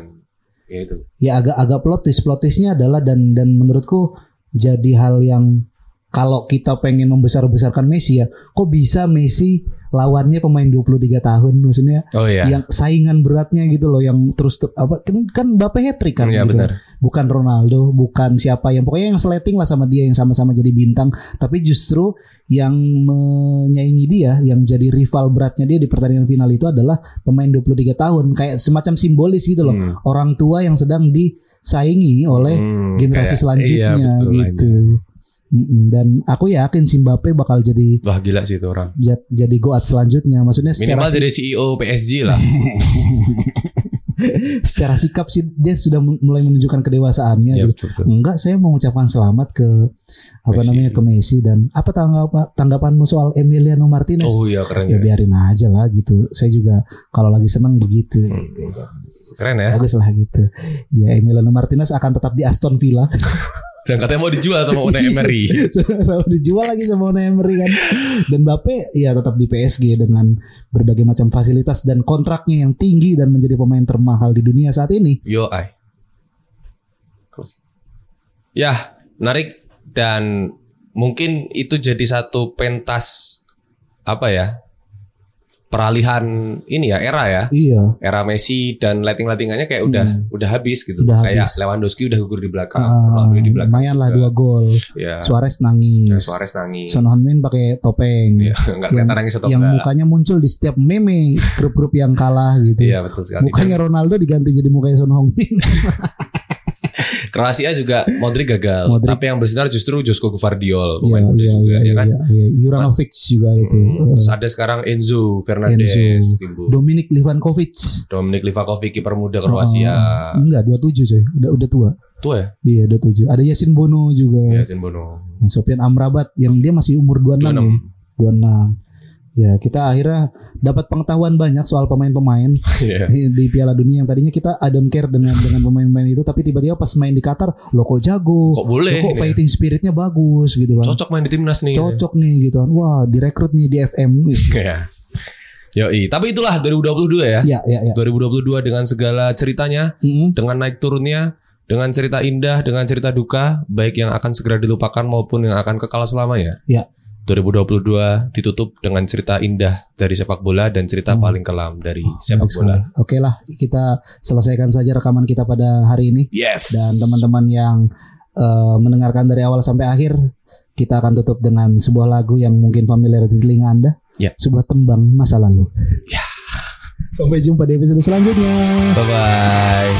S2: ya itu.
S5: Ya agak-agak plotis plotisnya adalah dan dan menurutku jadi hal yang kalau kita pengen membesar-besarkan Messi ya, kok bisa Messi lawannya pemain 23 tahun maksudnya
S2: Oh iya.
S5: yang saingan beratnya gitu loh yang terus ter- apa kan kan Mbappe hat trick kan
S2: Iya,
S5: gitu.
S2: benar.
S5: bukan Ronaldo bukan siapa yang pokoknya yang sleting lah sama dia yang sama-sama jadi bintang tapi justru yang menyaingi dia yang jadi rival beratnya dia di pertandingan final itu adalah pemain 23 tahun kayak semacam simbolis gitu loh
S2: Hmm.
S5: orang tua yang sedang disaingi oleh
S2: Hmm,
S5: generasi
S2: kayak-
S5: selanjutnya
S2: iya, betul,
S5: gitu Mm-mm. dan aku yakin si Mbappe bakal jadi
S2: Wah gila sih itu orang.
S5: ja- jadi goat selanjutnya maksudnya secara Iya,
S2: Minimal E
S5: si-
S2: jadi CEO PSG lah.
S5: secara sikap sih dia sudah mulai menunjukkan kedewasaannya
S2: Iya, betul,
S5: gitu.
S2: betul.
S5: Enggak, saya mengucapkan selamat ke apa
S2: Messi.
S5: namanya ke Messi dan apa tanggap tanggapanmu soal Emiliano Martinez?
S2: Oh iya keren ya.
S5: ya biarin aja lah gitu. Saya juga kalau lagi senang begitu. gitu.
S2: Hmm. Keren ya.
S5: Bagus lah gitu. Ya Emiliano Martinez akan tetap di Aston Villa. <laughs>
S2: Dan katanya mau dijual sama Unai Emery.
S5: Sama dijual lagi sama Unai Emery kan. Dan Bape ya tetap di PSG dengan berbagai macam fasilitas dan kontraknya yang tinggi dan menjadi pemain termahal di dunia saat ini.
S2: Yo ai. Close. Ya, menarik dan mungkin itu jadi satu pentas apa ya? Peralihan ini ya era ya.
S5: Iya.
S2: Era Messi dan lighting-lightingannya kayak udah udah habis gitu.
S5: Hmm. Udah
S2: kayak
S5: habis.
S2: Lewandowski udah gugur di belakang,
S5: Ah,
S2: Ronaldo di belakang.
S5: lumayan lah
S2: juga.
S5: dua gol.
S2: Ya.
S5: Suarez nangis.
S2: Ya, Suarez nangis.
S5: Son Heung-min pakai topeng.
S2: Ya, <laughs> nggak kelihatan nangis atau
S5: yang
S2: enggak.
S5: mukanya muncul di setiap meme grup-grup yang kalah gitu.
S2: Iya, betul sekali.
S5: mukanya Ronaldo diganti jadi mukanya
S2: <laughs>
S5: Son Heung-min.
S2: Kroasia juga Modric gagal,
S5: Modric.
S2: tapi yang bersinar justru Josko Gvardiol,
S5: Iya,
S2: pemain muda
S5: iya,
S2: juga
S5: iya,
S2: ya kan.
S5: iya, iya. Juranovic juga gitu.
S2: Hmm, Terus ada sekarang Enzo Fernandez
S5: Enzo.
S2: timbul.
S5: Dominic Livankovic.
S2: Dominic Livakovic kiper muda Kroasia.
S5: Oh, enggak, 27 coy. Udah udah tua.
S2: Tua ya?
S5: Iya, 27. Ada Yasin Bono
S2: Iya,
S5: juga.
S2: Yasin Bono.
S5: Sofian Amrabat yang dia masih umur 26, 26. ya.
S2: 26.
S5: 26. Ya, kita akhirnya dapat pengetahuan banyak soal pemain-pemain.
S2: <laughs> Iya.
S5: di Piala Dunia yang tadinya kita I don't care dengan dengan pemain-pemain itu tapi tiba-tiba pas main di Qatar lo kok jago
S2: Kok boleh
S5: lo kok
S2: ini? ya?
S5: fighting spiritnya bagus gitu kan
S2: Cocok main di timnas nih. ya.
S5: cocok nih gitu kan wah direkrut nih di FM
S2: Iya. Yoi, tapi itulah 2022 ya.
S5: ya ya ya
S2: 2022 dengan segala ceritanya,
S5: Mm-mm.
S2: dengan naik turunnya, dengan cerita indah, dengan cerita duka, baik yang akan segera dilupakan maupun yang akan kekal selamanya.
S5: Ya.
S2: 2022 ditutup dengan cerita indah dari sepak bola dan cerita paling kelam dari sepak
S5: Baik Hmm. sekali.
S2: bola.
S5: oke lah kita selesaikan saja rekaman kita pada hari ini
S2: Yes.
S5: dan teman-teman yang eh, mendengarkan dari awal sampai akhir kita akan tutup dengan sebuah lagu yang mungkin familiar di telinga anda
S2: Ya.
S5: sebuah tembang masa lalu
S2: Ya.
S5: sampai jumpa di episode selanjutnya
S2: Bye bye.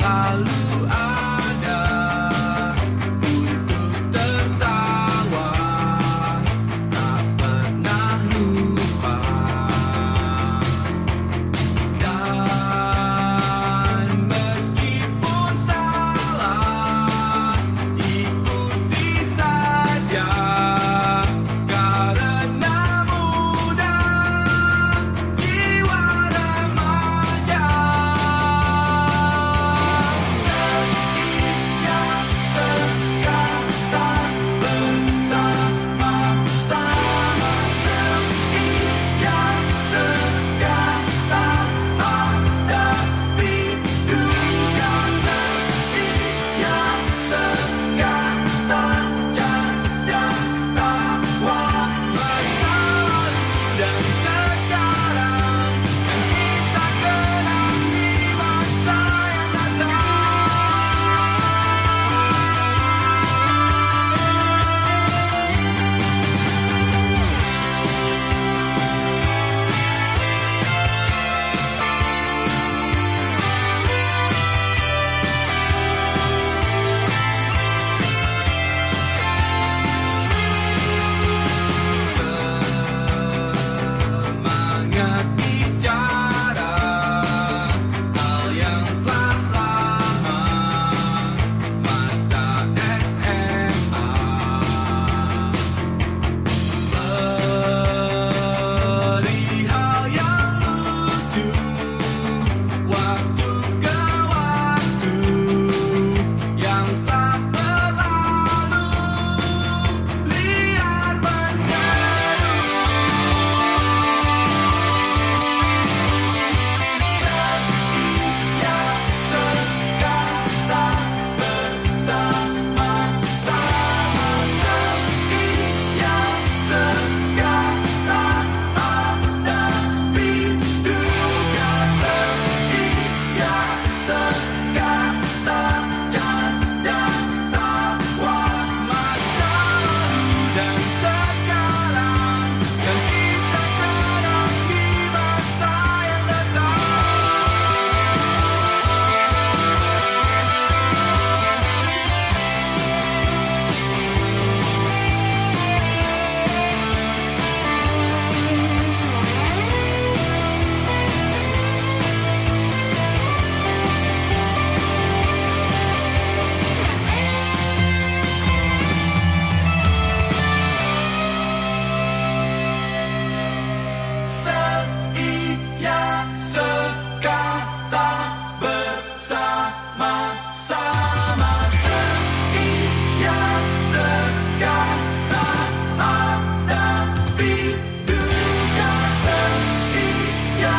S6: Now waktu Waktu ke waktu Yang tak berlalu Lihat berlalu Setiap sekata bersama-sama Setiap sekata ada pintu Setiap sekata janda tawa masa Dan sekarang dan kita kadang di masa yang datang Seia sekata bersama-sama Seia sekata hadapi duka Seia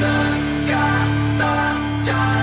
S6: sekata jalan